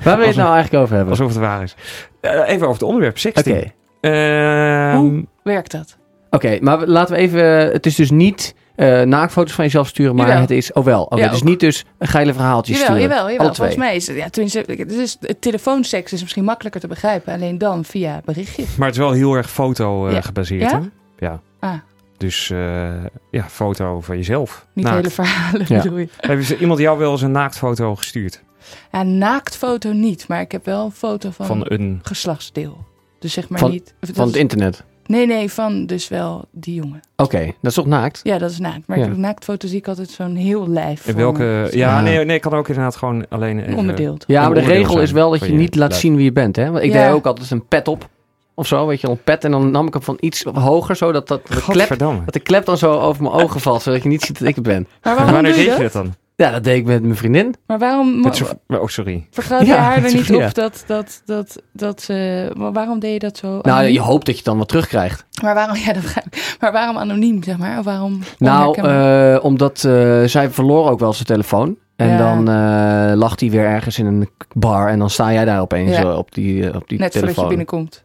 [SPEAKER 3] wil je het nou eigenlijk over hebben?
[SPEAKER 1] alsof het waar is. Eh, even over het onderwerp,
[SPEAKER 3] Oké,
[SPEAKER 1] sexting. Ehm,
[SPEAKER 4] Hoe werkt dat?
[SPEAKER 3] Oké, maar we- laten we even... eh, het is dus niet eh naakfoto's van jezelf sturen, maar
[SPEAKER 4] Jawel.
[SPEAKER 3] het is... Oh wel, oké.
[SPEAKER 4] Ja,
[SPEAKER 3] dus
[SPEAKER 4] ook.
[SPEAKER 3] niet dus een geile verhaaltjes
[SPEAKER 4] Jawel,
[SPEAKER 3] sturen.
[SPEAKER 4] jawel,
[SPEAKER 3] Alle
[SPEAKER 4] jawel.
[SPEAKER 3] twee.
[SPEAKER 4] Volgens mij is het, ja, tenminste, het is, het telefoonseks is misschien makkelijker te begrijpen, alleen dan via berichtje.
[SPEAKER 1] Maar het is wel heel erg foto eh,
[SPEAKER 4] Ja.
[SPEAKER 1] gebaseerd,
[SPEAKER 4] Ja?
[SPEAKER 1] hè? Ja.
[SPEAKER 4] Ah.
[SPEAKER 1] Dus eh, ja, foto van jezelf.
[SPEAKER 4] Niet
[SPEAKER 1] Naakt.
[SPEAKER 4] hele verhalen
[SPEAKER 3] Ja.
[SPEAKER 4] bedoel je.
[SPEAKER 1] Heeft ze- iemand jou wel eens een naaktfoto gestuurd?
[SPEAKER 4] Ja, naaktfoto niet, maar ik heb wel een foto van,
[SPEAKER 1] Van een...
[SPEAKER 4] geslachtsdeel. Dus zeg maar
[SPEAKER 3] Van-
[SPEAKER 4] niet... dat
[SPEAKER 3] Van het
[SPEAKER 4] is-
[SPEAKER 3] internet.
[SPEAKER 4] Nee, nee, van dus wel die jongen.
[SPEAKER 3] Oké, dat is toch naakt?
[SPEAKER 4] Ja, dat is naakt. Maar
[SPEAKER 3] Ja.
[SPEAKER 4] ik doe naaktfoto zie ik altijd zo'n heel lijf.
[SPEAKER 1] In
[SPEAKER 4] voor me.
[SPEAKER 1] welke... Ja,
[SPEAKER 3] Ja.
[SPEAKER 1] nee, nee, kan ook inderdaad gewoon alleen even...
[SPEAKER 4] Onbedeeld.
[SPEAKER 3] Ja,
[SPEAKER 1] Een
[SPEAKER 3] maar de
[SPEAKER 1] onderdeel
[SPEAKER 3] regel
[SPEAKER 1] zijn
[SPEAKER 3] is wel dat
[SPEAKER 1] van
[SPEAKER 3] je
[SPEAKER 1] je
[SPEAKER 3] niet laat
[SPEAKER 1] lijf.
[SPEAKER 3] zien wie je bent. Hè? Want ik
[SPEAKER 4] Ja.
[SPEAKER 3] deed ook altijd een pet op. Of zo, weet je wel, een pet. En dan nam ik hem van iets hoger, zodat dat de, klep,
[SPEAKER 1] Gadverdamme.
[SPEAKER 3] dat de klep dan zo over mijn ogen valt. Zodat je niet ziet dat ik het ben.
[SPEAKER 4] Maar
[SPEAKER 1] En
[SPEAKER 4] waarom
[SPEAKER 1] Wanneer deed
[SPEAKER 4] doe je
[SPEAKER 1] je
[SPEAKER 4] dat?
[SPEAKER 1] dat dan?
[SPEAKER 3] Ja, dat deed ik met mijn vriendin.
[SPEAKER 4] Maar waarom
[SPEAKER 1] Met zo'n- Oh, sorry.
[SPEAKER 3] <laughs>
[SPEAKER 4] vertrouw je
[SPEAKER 3] Ja,
[SPEAKER 4] haar
[SPEAKER 3] met
[SPEAKER 4] er
[SPEAKER 3] z'n
[SPEAKER 4] niet
[SPEAKER 3] vieren.
[SPEAKER 4] op dat, dat, dat, dat ze... Maar waarom deed je dat zo
[SPEAKER 3] Nou,
[SPEAKER 4] anoniem?
[SPEAKER 3] je hoopt dat je het dan wat terugkrijgt.
[SPEAKER 4] Maar waarom, <laughs> ja, dat begrijp ik. maar waarom anoniem, zeg maar? Of waarom
[SPEAKER 3] Nou,
[SPEAKER 4] onherkenbaar?
[SPEAKER 3] eh, omdat eh, zij verloor ook wel zijn telefoon. En
[SPEAKER 4] Ja.
[SPEAKER 3] dan eh, lag hij weer ergens in een bar. En dan sta jij daar opeens
[SPEAKER 4] Ja.
[SPEAKER 3] eh, op die, eh, op
[SPEAKER 4] Net
[SPEAKER 3] die
[SPEAKER 4] voordat je
[SPEAKER 3] telefoon.
[SPEAKER 4] binnenkomt.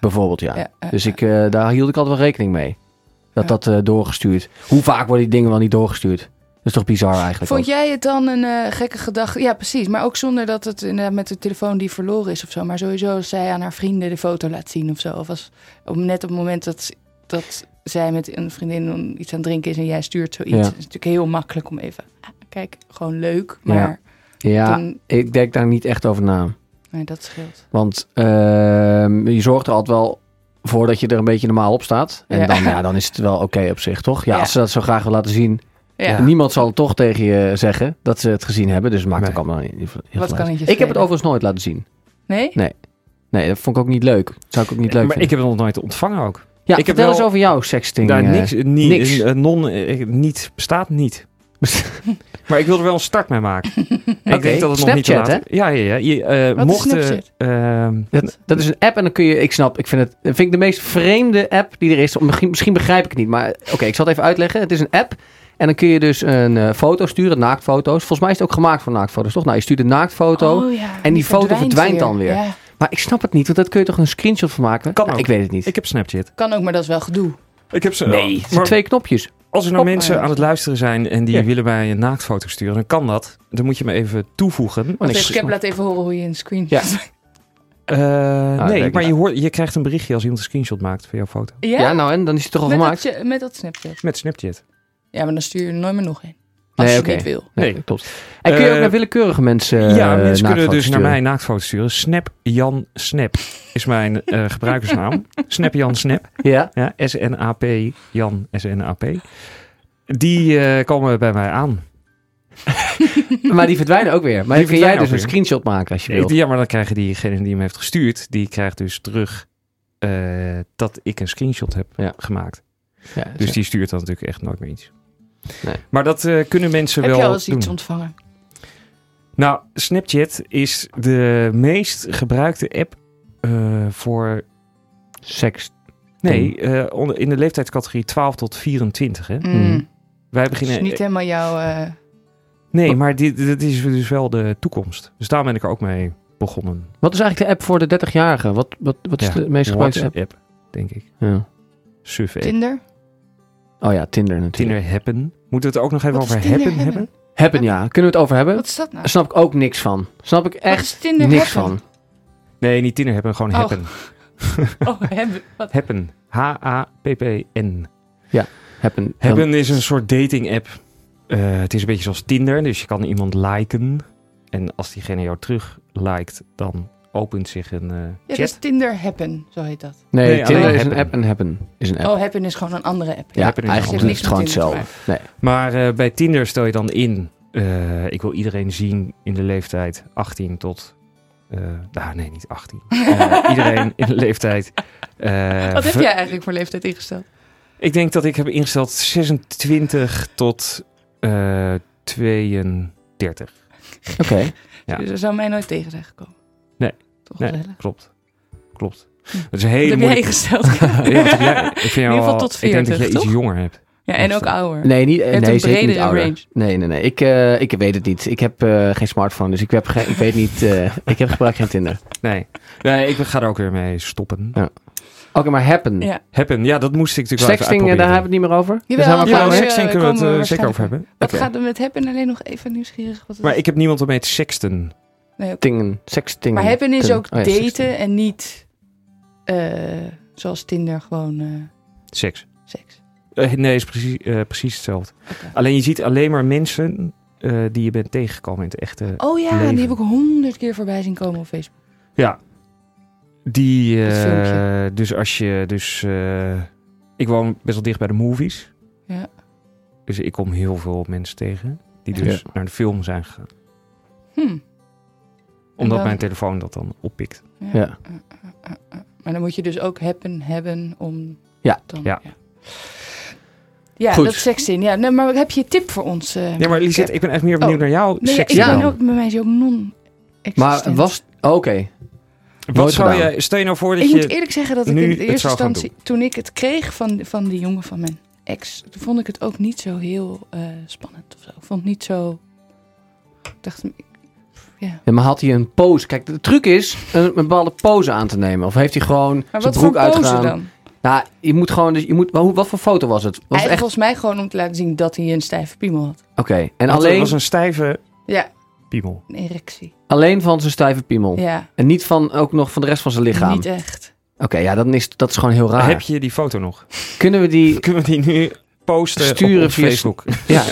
[SPEAKER 3] Bijvoorbeeld, ja.
[SPEAKER 4] Ja, ja,
[SPEAKER 3] Dus
[SPEAKER 4] ja.
[SPEAKER 3] ik, eh, daar hield ik altijd wel rekening mee. Dat
[SPEAKER 4] Ja.
[SPEAKER 3] dat eh, doorgestuurd. Hoe vaak worden die dingen wel niet doorgestuurd? Dat is toch bizar eigenlijk.
[SPEAKER 4] Vond
[SPEAKER 3] ook.
[SPEAKER 4] jij het dan een eh, gekke gedachte? Ja, precies. Maar ook zonder dat het inderdaad met de telefoon die verloren is of zo. Maar sowieso als zij aan haar vrienden de foto laat zien of zo. Of als op, net op het moment dat, dat zij met een vriendin iets aan het drinken is en jij stuurt zoiets.
[SPEAKER 3] Ja.
[SPEAKER 4] Het is natuurlijk heel makkelijk om even. ah, Kijk, gewoon leuk. Maar
[SPEAKER 3] Ja,
[SPEAKER 4] dan-
[SPEAKER 3] ik denk daar niet echt over na.
[SPEAKER 4] nee, dat scheelt.
[SPEAKER 3] Want ehm, je zorgt er altijd wel voor dat je er een beetje normaal op staat. En
[SPEAKER 4] Ja.
[SPEAKER 3] Dan, ja, dan is het wel oké op zich, toch? Ja,
[SPEAKER 4] Ja.
[SPEAKER 3] als ze dat zo graag wil laten zien.
[SPEAKER 4] Ja.
[SPEAKER 3] En Niemand zal toch tegen je zeggen dat ze het gezien hebben. Dus het maakt
[SPEAKER 1] Nee.
[SPEAKER 3] ook allemaal niet heel veel
[SPEAKER 4] Wat
[SPEAKER 3] uit.
[SPEAKER 4] kan het je
[SPEAKER 3] Ik heb het
[SPEAKER 4] schelen?
[SPEAKER 3] overigens nooit laten zien.
[SPEAKER 4] Nee?
[SPEAKER 3] Nee, dat vond ik ook niet leuk. Dat zou ik ook niet leuk
[SPEAKER 1] maar
[SPEAKER 3] vinden.
[SPEAKER 1] ik heb het nog nooit ontvangen ook.
[SPEAKER 3] ja,
[SPEAKER 1] ik heb
[SPEAKER 3] vertel eens
[SPEAKER 1] wel-
[SPEAKER 3] over jouw seksting.
[SPEAKER 1] Daar
[SPEAKER 3] eh.
[SPEAKER 1] niks, ni-
[SPEAKER 3] niks.
[SPEAKER 1] eh, non, eh, niet, bestaat niet. <laughs> maar ik wil er wel een start mee
[SPEAKER 4] <laughs>
[SPEAKER 1] maken. En ik
[SPEAKER 3] Oké,
[SPEAKER 1] denk dat het nog niet te
[SPEAKER 3] Snapchat,
[SPEAKER 1] laat Ja, ja, ja. Je, eh,
[SPEAKER 4] Wat is
[SPEAKER 1] mocht, eh,
[SPEAKER 4] Snapchat?
[SPEAKER 1] ehm,
[SPEAKER 3] Dat, dat is een app en dan kun je... Ik snap, ik vind het dat vind ik de meest vreemde app die er is. Misschien, misschien begrijp ik het niet, maar oké, ik zal het even uitleggen. Het is een app en dan kun je dus een eh, foto sturen, naaktfoto's. Volgens mij is het ook gemaakt voor naaktfoto's, toch? Nou, je stuurt een naaktfoto.
[SPEAKER 4] Oh ja,
[SPEAKER 3] en die foto verdwijnt dan weer.
[SPEAKER 4] Ja,
[SPEAKER 3] Maar ik snap het niet, want daar kun je toch een screenshot van maken?
[SPEAKER 1] Kan
[SPEAKER 3] Nou,
[SPEAKER 1] ook.
[SPEAKER 3] Ik weet het niet.
[SPEAKER 1] ik heb Snapchat.
[SPEAKER 4] kan ook, maar dat is wel gedoe.
[SPEAKER 1] Ik heb ze.
[SPEAKER 3] nee, het zijn
[SPEAKER 1] maar
[SPEAKER 3] twee knopjes.
[SPEAKER 1] als er nou
[SPEAKER 4] Hop,
[SPEAKER 1] mensen
[SPEAKER 4] maar.
[SPEAKER 1] aan het luisteren zijn en die
[SPEAKER 3] Ja.
[SPEAKER 1] willen mij een naaktfoto sturen, dan kan dat. Dan moet je me even toevoegen.
[SPEAKER 3] Want
[SPEAKER 4] Dus ik heb laat even horen hoe je een screen...
[SPEAKER 3] Ja.
[SPEAKER 4] <laughs>
[SPEAKER 1] Eh,
[SPEAKER 3] denk
[SPEAKER 1] nee,
[SPEAKER 3] ik
[SPEAKER 1] maar je,
[SPEAKER 3] wel.
[SPEAKER 1] hoort, je krijgt een berichtje als iemand een screenshot maakt van jouw foto.
[SPEAKER 4] Ja?
[SPEAKER 3] Ja, nou en dan is het toch al
[SPEAKER 4] met,
[SPEAKER 3] gemaakt?
[SPEAKER 4] dat, je- met dat Snapchat.
[SPEAKER 1] Met Snapchat.
[SPEAKER 4] Ja, maar dan stuur je er nooit meer nog in. Als
[SPEAKER 3] Nee,
[SPEAKER 4] je
[SPEAKER 3] oké.
[SPEAKER 4] het niet wil.
[SPEAKER 3] Nee,
[SPEAKER 1] Nee.
[SPEAKER 3] klopt. En kun je ook
[SPEAKER 1] Eh,
[SPEAKER 3] naar willekeurige mensen eh,
[SPEAKER 1] ja, mensen
[SPEAKER 3] naaktfoto's
[SPEAKER 1] kunnen dus
[SPEAKER 3] sturen?
[SPEAKER 1] naar mij naaktfoto's sturen. Snap Jan Snap is mijn eh,
[SPEAKER 3] <laughs>
[SPEAKER 1] gebruikersnaam. Snap Jan Snap.
[SPEAKER 3] Ja,
[SPEAKER 1] Ja, SNAP, Jan SNAP. Die eh, komen bij mij aan.
[SPEAKER 3] maar die verdwijnen ook weer. Maar
[SPEAKER 1] Die
[SPEAKER 3] dan kun jij
[SPEAKER 1] verdwijnen ook
[SPEAKER 3] dus een
[SPEAKER 1] weer.
[SPEAKER 3] screenshot maken als je
[SPEAKER 1] Ik,
[SPEAKER 3] wilt.
[SPEAKER 1] ja, maar dan krijgen diegenen die hem heeft gestuurd, die krijgt dus terug eh, dat ik een screenshot heb
[SPEAKER 3] Ja.
[SPEAKER 1] gemaakt.
[SPEAKER 3] Ja,
[SPEAKER 1] Dus
[SPEAKER 3] zo.
[SPEAKER 1] die stuurt dan natuurlijk echt nooit meer iets.
[SPEAKER 3] Nee.
[SPEAKER 1] Maar dat eh, kunnen mensen
[SPEAKER 4] Heb
[SPEAKER 1] wel
[SPEAKER 4] je al eens
[SPEAKER 1] doen.
[SPEAKER 4] iets ontvangen?
[SPEAKER 1] Nou, Snapchat is de meest gebruikte app eh, voor...
[SPEAKER 3] Seks.
[SPEAKER 1] Nee, eh, onder- in de leeftijdscategorie 12 tot 24. Hè?
[SPEAKER 3] Mm.
[SPEAKER 1] Wij
[SPEAKER 4] Het is
[SPEAKER 1] beginnen...
[SPEAKER 4] niet helemaal jouw... eh,
[SPEAKER 3] Oh.
[SPEAKER 1] Nee, maar dit, dit is dus wel de toekomst. Dus daar ben ik er ook mee begonnen.
[SPEAKER 3] Wat is eigenlijk de app voor de 30-jarigen? Wat, wat, wat is
[SPEAKER 1] Ja,
[SPEAKER 3] de meest gebruikte app?
[SPEAKER 1] WhatsApp, denk ik.
[SPEAKER 3] Ja.
[SPEAKER 1] Suf app.
[SPEAKER 4] Tinder?
[SPEAKER 3] Oh ja, Tinder natuurlijk.
[SPEAKER 1] Tinder happen. Moeten we het ook nog even
[SPEAKER 4] Wat is
[SPEAKER 1] over
[SPEAKER 4] Tinder
[SPEAKER 1] happen
[SPEAKER 4] hebben?
[SPEAKER 1] hebben?
[SPEAKER 3] Hebben, ja. Kunnen we het over hebben?
[SPEAKER 4] Wat is dat nou?
[SPEAKER 3] Daar snap ik ook niks van. Snap ik
[SPEAKER 4] Wat
[SPEAKER 3] echt
[SPEAKER 4] is Tinder
[SPEAKER 3] niks
[SPEAKER 4] hebben?
[SPEAKER 3] van.
[SPEAKER 1] Nee, niet Tinder happen, gewoon
[SPEAKER 4] Oh.
[SPEAKER 1] happen.
[SPEAKER 4] <laughs> Oh, hebben. Wat?
[SPEAKER 1] Happen. H-A-P-P-N.
[SPEAKER 3] Hebben.
[SPEAKER 1] Happen is een soort dating app. Eh, het is een beetje zoals Tinder, dus je kan iemand liken. En als diegene jou terug liked, dan opent zich een eh,
[SPEAKER 4] Ja,
[SPEAKER 1] chat.
[SPEAKER 4] dus Tinder Happen, zo heet dat.
[SPEAKER 3] Nee,
[SPEAKER 1] Nee,
[SPEAKER 3] Tinder
[SPEAKER 1] alleen
[SPEAKER 3] is een
[SPEAKER 1] Happen.
[SPEAKER 3] app en Happen is een app.
[SPEAKER 4] Oh, Happen is gewoon een andere app.
[SPEAKER 3] ja,
[SPEAKER 1] Happen is
[SPEAKER 3] eigenlijk
[SPEAKER 1] een
[SPEAKER 3] is het
[SPEAKER 4] app.
[SPEAKER 3] gewoon
[SPEAKER 4] Heeft niks met Tinder te
[SPEAKER 3] hetzelfde. Nee.
[SPEAKER 1] Maar eh, bij Tinder stel je dan in, eh, ik wil iedereen zien in de leeftijd 18 tot... eh, nou, nee, niet 18.
[SPEAKER 4] <laughs>
[SPEAKER 1] Eh, iedereen in de leeftijd... eh,
[SPEAKER 4] Wat Oh, heb
[SPEAKER 1] ver- <laughs>
[SPEAKER 4] jij eigenlijk voor leeftijd ingesteld?
[SPEAKER 1] Ik denk dat ik heb ingesteld 26 tot eh 32.
[SPEAKER 3] Oké.
[SPEAKER 4] <laughs>
[SPEAKER 1] Ja.
[SPEAKER 4] Dus dat zou mij nooit tegen zijn gekomen.
[SPEAKER 1] Nee.
[SPEAKER 4] Toch
[SPEAKER 1] Nee.
[SPEAKER 4] gezellig.
[SPEAKER 1] Klopt. Klopt. Dat is een
[SPEAKER 4] Wat
[SPEAKER 1] hele
[SPEAKER 4] heb jij
[SPEAKER 1] moeilijke...
[SPEAKER 4] ingesteld?
[SPEAKER 1] <laughs> Ja, wat heb jij- <laughs> ik vind
[SPEAKER 4] <laughs>
[SPEAKER 1] jou
[SPEAKER 4] ieder geval
[SPEAKER 1] al-
[SPEAKER 4] tot
[SPEAKER 1] Ik denk dat
[SPEAKER 4] 40,
[SPEAKER 1] je iets
[SPEAKER 4] toch?
[SPEAKER 1] jonger hebt.
[SPEAKER 4] ja, en ook ouder.
[SPEAKER 3] Nee, niet,
[SPEAKER 4] hebt
[SPEAKER 3] nee
[SPEAKER 4] een
[SPEAKER 3] zeker niet
[SPEAKER 4] bredere
[SPEAKER 3] ouder.
[SPEAKER 4] range.
[SPEAKER 3] Nee, nee, nee. Ik, eh, ik weet het niet. Ik heb eh, geen smartphone, dus ik, heb geen- ik weet niet. eh, ik heb gebruik geen Tinder.
[SPEAKER 1] Nee. nee, ik ga er ook weer mee stoppen.
[SPEAKER 3] Oké, maar Happen.
[SPEAKER 4] Ja.
[SPEAKER 1] Happen, ja, dat moest ik natuurlijk
[SPEAKER 3] Sexting,
[SPEAKER 1] wel
[SPEAKER 3] eh,
[SPEAKER 1] even
[SPEAKER 3] daar
[SPEAKER 1] uitproberen.
[SPEAKER 3] hebben we het niet
[SPEAKER 4] Jawel,
[SPEAKER 3] meer over. Daar zijn we
[SPEAKER 4] ja,
[SPEAKER 3] klaar
[SPEAKER 1] Ja,
[SPEAKER 3] mee.
[SPEAKER 4] we-
[SPEAKER 1] sexting kunnen we het
[SPEAKER 4] komen we
[SPEAKER 1] eh, zeker over hebben.
[SPEAKER 4] Wat
[SPEAKER 3] Oké.
[SPEAKER 4] gaat er met Happen? Alleen nog even nieuwsgierig. Wat het
[SPEAKER 1] Maar
[SPEAKER 4] is.
[SPEAKER 1] ik heb niemand om mee te sexten.
[SPEAKER 4] Nee, oké.
[SPEAKER 3] Tingen, sexting.
[SPEAKER 4] Maar Happen is
[SPEAKER 3] Tin-
[SPEAKER 4] ook
[SPEAKER 3] oh ja, sexting.
[SPEAKER 4] daten en niet eh, zoals Tinder gewoon eh,
[SPEAKER 1] Seks.
[SPEAKER 4] seks.
[SPEAKER 1] Eh, nee, is precies, eh, precies hetzelfde.
[SPEAKER 4] Oké.
[SPEAKER 1] Alleen je ziet alleen maar mensen eh, die je bent tegengekomen in het echte.
[SPEAKER 4] Oh ja,
[SPEAKER 1] Leven.
[SPEAKER 4] die heb ik honderd keer voorbij zien komen op Facebook.
[SPEAKER 1] Ja. Die,
[SPEAKER 4] Dat
[SPEAKER 1] eh,
[SPEAKER 4] filmpje.
[SPEAKER 1] dus als je, dus eh, ik woon best wel dicht bij de movies.
[SPEAKER 4] Ja.
[SPEAKER 1] Dus ik kom heel veel mensen tegen die
[SPEAKER 4] Ja.
[SPEAKER 1] dus naar de film zijn gegaan.
[SPEAKER 4] Hm.
[SPEAKER 1] Omdat
[SPEAKER 4] dan-
[SPEAKER 1] mijn telefoon dat dan oppikt.
[SPEAKER 4] Ja.
[SPEAKER 3] Ja.
[SPEAKER 4] Eh, eh, eh, eh. Maar dan moet je dus ook happen hebben om...
[SPEAKER 3] Ja.
[SPEAKER 4] Dan,
[SPEAKER 1] Ja.
[SPEAKER 4] ja. Ja,
[SPEAKER 3] Goed.
[SPEAKER 4] dat is seks in. Ja, nee, maar heb je een tip voor ons? eh?
[SPEAKER 1] Ja, maar Lisette, ik ben echt meer benieuwd
[SPEAKER 4] Oh.
[SPEAKER 1] naar jouw
[SPEAKER 4] nee, ja,
[SPEAKER 1] seks.
[SPEAKER 4] ik
[SPEAKER 3] Ja.
[SPEAKER 4] ben ook bij mij is ook non-existent.
[SPEAKER 3] Maar was... oh, Oké.
[SPEAKER 1] Wat
[SPEAKER 3] nooit
[SPEAKER 1] zou
[SPEAKER 3] gedaan.
[SPEAKER 1] je, stel je nou voor dat
[SPEAKER 4] Ik moet
[SPEAKER 1] je...
[SPEAKER 4] eerlijk zeggen dat ik
[SPEAKER 1] nu
[SPEAKER 4] in de
[SPEAKER 1] het
[SPEAKER 4] eerste
[SPEAKER 1] zou gaan
[SPEAKER 4] instantie, toen ik het kreeg van, van die jongen van mijn ex, toen vond ik het ook niet zo heel eh, spannend of zo. Ik vond het niet zo. Ik dacht, ik- ja.
[SPEAKER 3] Ja, maar had hij een pose? Kijk, de truc is een, een bepaalde pose aan te nemen. Of heeft hij gewoon
[SPEAKER 4] Maar
[SPEAKER 3] zijn
[SPEAKER 4] wat
[SPEAKER 3] broek
[SPEAKER 4] voor pose
[SPEAKER 3] uitgedaan?
[SPEAKER 4] dan?
[SPEAKER 3] Nou, je moet gewoon... Dus je moet, wat, wat voor foto was het? Was
[SPEAKER 4] Hij
[SPEAKER 3] het
[SPEAKER 4] echt...
[SPEAKER 3] echt...
[SPEAKER 4] volgens mij gewoon om te laten zien dat hij een stijve piemel had.
[SPEAKER 3] Oké. En
[SPEAKER 1] Want
[SPEAKER 3] alleen,
[SPEAKER 1] Het was een stijve
[SPEAKER 4] Ja,
[SPEAKER 1] piemel.
[SPEAKER 4] een erectie.
[SPEAKER 3] alleen van zijn stijve piemel.
[SPEAKER 4] Ja,
[SPEAKER 3] En niet van, ook nog van de rest van zijn lichaam.
[SPEAKER 4] niet
[SPEAKER 3] Oké,
[SPEAKER 4] echt.
[SPEAKER 3] ja, dan is, dat is gewoon heel raar.
[SPEAKER 1] Heb je die foto nog?
[SPEAKER 3] Kunnen we
[SPEAKER 1] <laughs>
[SPEAKER 3] die...
[SPEAKER 1] Kunnen we die nu posten
[SPEAKER 3] Sturen
[SPEAKER 1] op ons
[SPEAKER 3] via-
[SPEAKER 1] Facebook? <laughs>
[SPEAKER 3] Ja,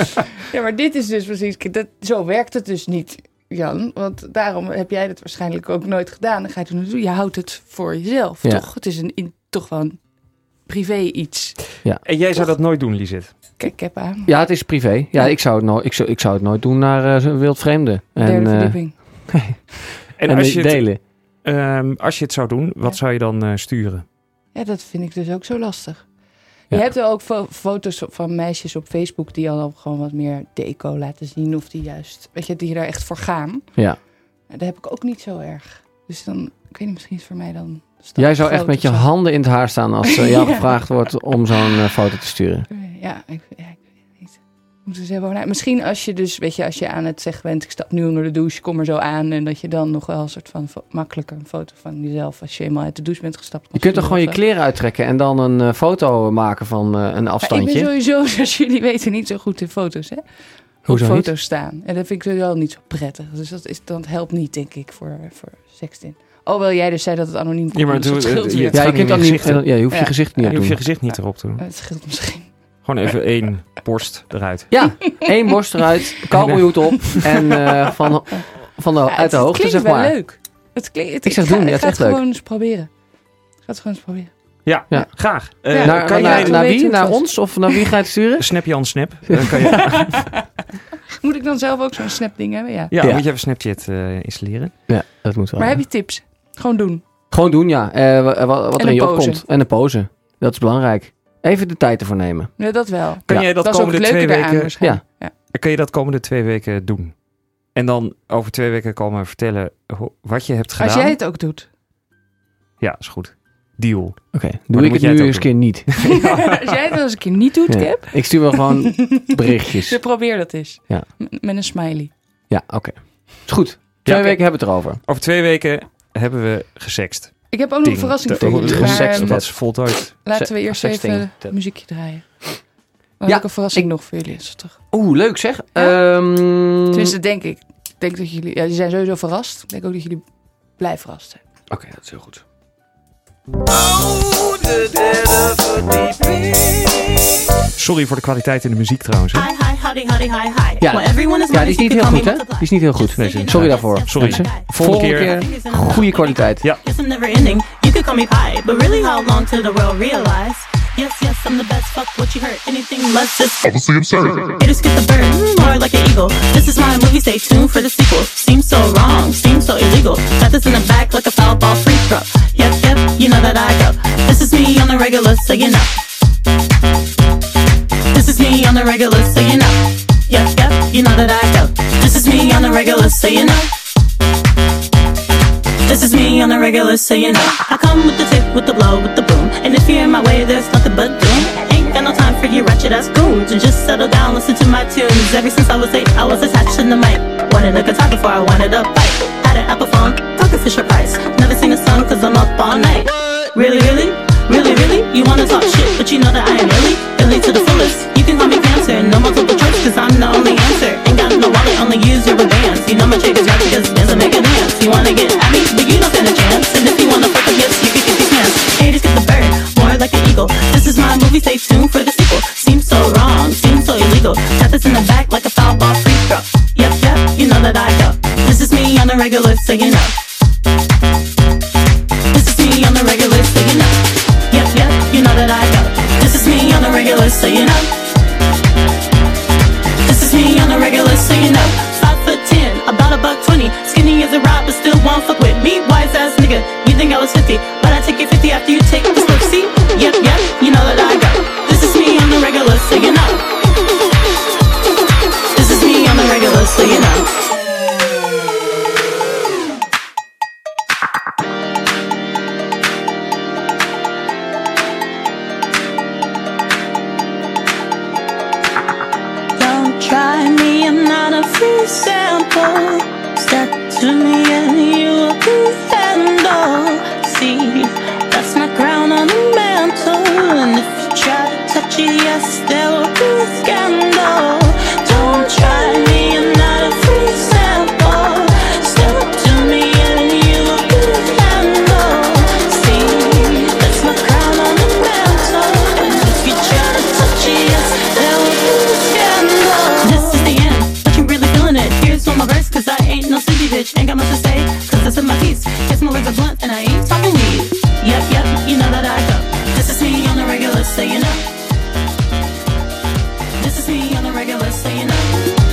[SPEAKER 4] Ja, maar dit is dus precies. kijk, Dat, zo werkt het dus niet, Jan. Want daarom heb jij dat waarschijnlijk ook nooit gedaan. Dan ga je het doen. Je houdt het voor jezelf,
[SPEAKER 3] Ja.
[SPEAKER 4] toch? Het is een, in, toch wel een privé iets.
[SPEAKER 1] En jij zou dat nooit doen, Lisette.
[SPEAKER 4] Kijk, ik heb aan.
[SPEAKER 3] ja, het is privé. Ja, ik zou het, nooit, ik zou, ik zou het nooit doen naar eh, zo'n wildvreemde. <laughs> En,
[SPEAKER 4] Derde
[SPEAKER 3] eh,
[SPEAKER 4] verdieping.
[SPEAKER 1] En,
[SPEAKER 3] en
[SPEAKER 1] als, je het,
[SPEAKER 3] delen.
[SPEAKER 1] ehm, als je het zou doen, wat
[SPEAKER 4] Ja.
[SPEAKER 1] zou je dan eh, sturen?
[SPEAKER 4] Ja, dat vind ik dus ook zo lastig.
[SPEAKER 3] Ja.
[SPEAKER 4] Je hebt er ook fo- foto's van meisjes op Facebook die al gewoon wat meer deco laten zien. Of die juist, weet je, die daar echt voor gaan.
[SPEAKER 3] Ja.
[SPEAKER 4] Daar heb ik ook niet zo erg. Dus dan, ik weet niet, misschien is het voor mij dan... stap
[SPEAKER 3] Jij zou echt
[SPEAKER 4] groot
[SPEAKER 3] met
[SPEAKER 4] of
[SPEAKER 3] je
[SPEAKER 4] zo.
[SPEAKER 3] handen in het haar staan als eh,
[SPEAKER 4] <laughs>
[SPEAKER 3] jou
[SPEAKER 4] Ja.
[SPEAKER 3] gevraagd wordt om zo'n eh, foto te sturen.
[SPEAKER 4] Ja, ik, ja, ik weet het niet. Ik Moet eens even over na- Misschien als je dus, weet je, als je aan het zeggen bent, ik stap nu onder de douche, kom er zo aan. En dat je dan nog wel een soort van fo- makkelijker een foto van jezelf, als je eenmaal uit de douche bent gestapt.
[SPEAKER 3] Je
[SPEAKER 4] kan
[SPEAKER 3] kunt toch
[SPEAKER 4] sturen
[SPEAKER 3] gewoon je
[SPEAKER 4] of zo.
[SPEAKER 3] kleren uittrekken en dan een eh, foto maken van eh, een
[SPEAKER 4] Maar ik ben
[SPEAKER 3] afstandje.
[SPEAKER 4] sowieso, <laughs> zoals jullie weten, niet zo goed in foto's, hè?
[SPEAKER 3] Hoezo
[SPEAKER 4] op
[SPEAKER 3] niet?
[SPEAKER 4] foto's staan. En dat vind ik sowieso niet zo prettig. Dus dat, is, dat helpt niet, denk ik, voor, voor sexting. Alhoewel jij dus zei dat het anoniem komt.
[SPEAKER 1] Ja, maar
[SPEAKER 4] dus dat
[SPEAKER 1] het-
[SPEAKER 4] scheelt
[SPEAKER 1] het-
[SPEAKER 4] weer.
[SPEAKER 1] het-
[SPEAKER 3] Ja, eh, je,
[SPEAKER 1] gaat niet
[SPEAKER 3] kunt dan
[SPEAKER 1] in je
[SPEAKER 3] niet,
[SPEAKER 1] gezicht, hè?
[SPEAKER 3] ja, je hoeft
[SPEAKER 4] Ja.
[SPEAKER 3] je gezicht niet
[SPEAKER 1] Je
[SPEAKER 3] aan te
[SPEAKER 1] hoeft je
[SPEAKER 3] doen.
[SPEAKER 1] gezicht niet erop te doen.
[SPEAKER 4] Het scheelt misschien.
[SPEAKER 1] Gewoon
[SPEAKER 4] <laughs>
[SPEAKER 1] even één borst eruit.
[SPEAKER 3] Ja, één borst eruit, cowboyhoed op en
[SPEAKER 4] <laughs>
[SPEAKER 3] eh, van, van de,
[SPEAKER 4] Ja,
[SPEAKER 3] uit de
[SPEAKER 4] het
[SPEAKER 3] hoogte,
[SPEAKER 4] klinkt
[SPEAKER 3] zeg
[SPEAKER 4] wel
[SPEAKER 3] maar.
[SPEAKER 4] leuk. Het klinkt, het,
[SPEAKER 3] Ik zeg
[SPEAKER 4] ga,
[SPEAKER 3] doen, ja,
[SPEAKER 4] ik
[SPEAKER 3] het
[SPEAKER 4] ga
[SPEAKER 3] is
[SPEAKER 4] het
[SPEAKER 3] echt leuk.
[SPEAKER 4] gewoon eens proberen. Ik ga het gewoon eens proberen.
[SPEAKER 1] Ja,
[SPEAKER 3] Ja.
[SPEAKER 1] graag. Eh,
[SPEAKER 4] Ja.
[SPEAKER 3] Naar,
[SPEAKER 1] kan
[SPEAKER 4] je
[SPEAKER 1] jij
[SPEAKER 3] naar,
[SPEAKER 4] weten
[SPEAKER 3] naar
[SPEAKER 4] hoe
[SPEAKER 3] wie?
[SPEAKER 4] het
[SPEAKER 3] Naar
[SPEAKER 4] was?
[SPEAKER 3] ons? Of naar wie ga je het sturen?
[SPEAKER 1] Snap je aan
[SPEAKER 3] <laughs>
[SPEAKER 1] snap? Eh, kan je,
[SPEAKER 4] Moet ik dan zelf ook zo'n snapding hebben? Ja.
[SPEAKER 1] ja,
[SPEAKER 3] Ja.
[SPEAKER 1] moet je even Snapchat eh, installeren.
[SPEAKER 3] Ja, dat moet wel.
[SPEAKER 4] Maar
[SPEAKER 3] ja.
[SPEAKER 4] heb je tips? Gewoon doen.
[SPEAKER 3] Gewoon doen, ja. Eh, wa- wa-
[SPEAKER 4] En
[SPEAKER 3] wat er in
[SPEAKER 4] een
[SPEAKER 3] je
[SPEAKER 4] pose.
[SPEAKER 3] opkomt. En een pose. Dat is belangrijk. Even de tijd ervoor nemen.
[SPEAKER 4] Ja, dat wel.
[SPEAKER 1] Kan
[SPEAKER 3] Ja.
[SPEAKER 1] jij dat,
[SPEAKER 4] dat is ook
[SPEAKER 1] komende
[SPEAKER 4] het
[SPEAKER 1] twee
[SPEAKER 4] leuke daaraan
[SPEAKER 1] weken...
[SPEAKER 4] waarschijnlijk. Ja.
[SPEAKER 1] Kun je dat komende twee weken doen? En dan over twee weken komen vertellen ho- wat je hebt gedaan.
[SPEAKER 4] Als jij het ook
[SPEAKER 3] <laughs>
[SPEAKER 4] doet.
[SPEAKER 1] Ja, is goed. Deal.
[SPEAKER 3] Oké,
[SPEAKER 1] dan
[SPEAKER 3] doe ik
[SPEAKER 1] moet
[SPEAKER 3] het
[SPEAKER 1] jij het
[SPEAKER 3] nu
[SPEAKER 1] ook
[SPEAKER 3] eens een keer niet.
[SPEAKER 4] <laughs>
[SPEAKER 1] <laughs>
[SPEAKER 3] <laughs>
[SPEAKER 4] Als jij het wel eens een keer niet doet,
[SPEAKER 3] Ja.
[SPEAKER 4] Cap,
[SPEAKER 3] Ik stuur wel
[SPEAKER 4] <laughs>
[SPEAKER 3] gewoon berichtjes.
[SPEAKER 4] dus probeer dat eens.
[SPEAKER 3] Ja.
[SPEAKER 4] M- met een smiley.
[SPEAKER 3] Ja, oké. Is goed. Twee
[SPEAKER 1] oké.
[SPEAKER 3] weken hebben we het erover.
[SPEAKER 1] Over twee weken hebben we gesext.
[SPEAKER 4] Ik heb ook nog een
[SPEAKER 1] Ding.
[SPEAKER 4] verrassing
[SPEAKER 1] Te-
[SPEAKER 4] voor jullie.
[SPEAKER 1] hoe-
[SPEAKER 4] maar,
[SPEAKER 3] gesext
[SPEAKER 4] ehm,
[SPEAKER 1] Dat is voltooid.
[SPEAKER 4] Laten we
[SPEAKER 3] Se-
[SPEAKER 4] eerst
[SPEAKER 3] sexting.
[SPEAKER 4] even
[SPEAKER 3] Dat-
[SPEAKER 4] het muziekje draaien. Dan
[SPEAKER 3] Ja,
[SPEAKER 4] heb ik een verrassing nog voor jullie. Is dat toch?
[SPEAKER 3] Oeh, leuk zeg.
[SPEAKER 4] Ja.
[SPEAKER 3] Ehm,
[SPEAKER 4] Tenminste, denk ik. Ik denk dat jullie... Ja, jullie zijn sowieso verrast. Ik denk ook dat jullie blij verrast zijn.
[SPEAKER 3] Oké, dat is heel goed.
[SPEAKER 1] Sorry voor de kwaliteit in de muziek trouwens. hè.
[SPEAKER 8] Hi, hi, howdy, howdy, hi, hi.
[SPEAKER 3] Ja.
[SPEAKER 8] Well, everyone is
[SPEAKER 3] Ja, die is niet heel goed, hè? Die is niet heel goed.
[SPEAKER 8] Nee, zeker.
[SPEAKER 3] Sorry daarvoor.
[SPEAKER 1] Sorry.
[SPEAKER 3] mensen.
[SPEAKER 1] Volgende,
[SPEAKER 3] Volgende
[SPEAKER 1] keer.
[SPEAKER 3] keer goede kwaliteit.
[SPEAKER 1] Ja.
[SPEAKER 8] Guess I'm never ending. You could call me pie, but really, how long till the world realize? Yes, yes, I'm the best. Fuck what you heard. Anything less just obviously absurd. Haters get the bird, more like an eagle. This is my movie. Stay tuned for the sequel. Seems so wrong, seems so illegal. Got this in the back like a foul ball free throw. Yep, yep, you know that I go. This is me on the regular, so you know. This is me on the regular, so you know. Yep, yep, you know that I go. This is me on the regular, so you know. This is me on the regular, so you know. I come with the tip, with the blow, with the boom. And if you're in my way, there's nothing but doom. Ain't got no time for you ratchet ass goons. So just settle down, listen to my tunes. Ever since I was eight, I was attached to the mic. Wanted a guitar before I wanted a bike. Had an Apple phone, talking Fisher Price. Never seen a song cause I'm up all night. Really, really? Really, really? You wanna talk shit, but you know that I am really, really to the fullest. You can call me cancer, no multiple choice, cause I'm the only answer. Ain't got no wallet, only use your advance. You know my check is right, cause dance make a dance. You wanna get at me, but you don't stand a chance. And if you wanna fuck with yes, you can get these hands. Haters get the bird, more like an eagle. This is my movie, stay tuned for the sequel. Seems so wrong, seems so illegal. Got this in the back like a foul ball free throw. Yep, yep, you know that I go. This is me on the regular, so you know. This is me Try me, I'm not a free sample. Step to me and you'll be handled. See, that's my crown on the mantle. And if you try to touch it, yes, there will be scandal. Don't try me, I'm not a free sample. Step to me and you'll be handled. See, that's my crown on the mantle. And if you try to touch it, yes, there will be scandal. This is the end, but you're really feeling it. Here's one my verse, cause I ain't no sleepy bitch. Ain't got much to say, cause I spit my piece. Kiss my words are blunt, and I ain't talking weed. Yep, yep, you know that I go. This is me on the regular, so you know. This is me on the regular, so you know.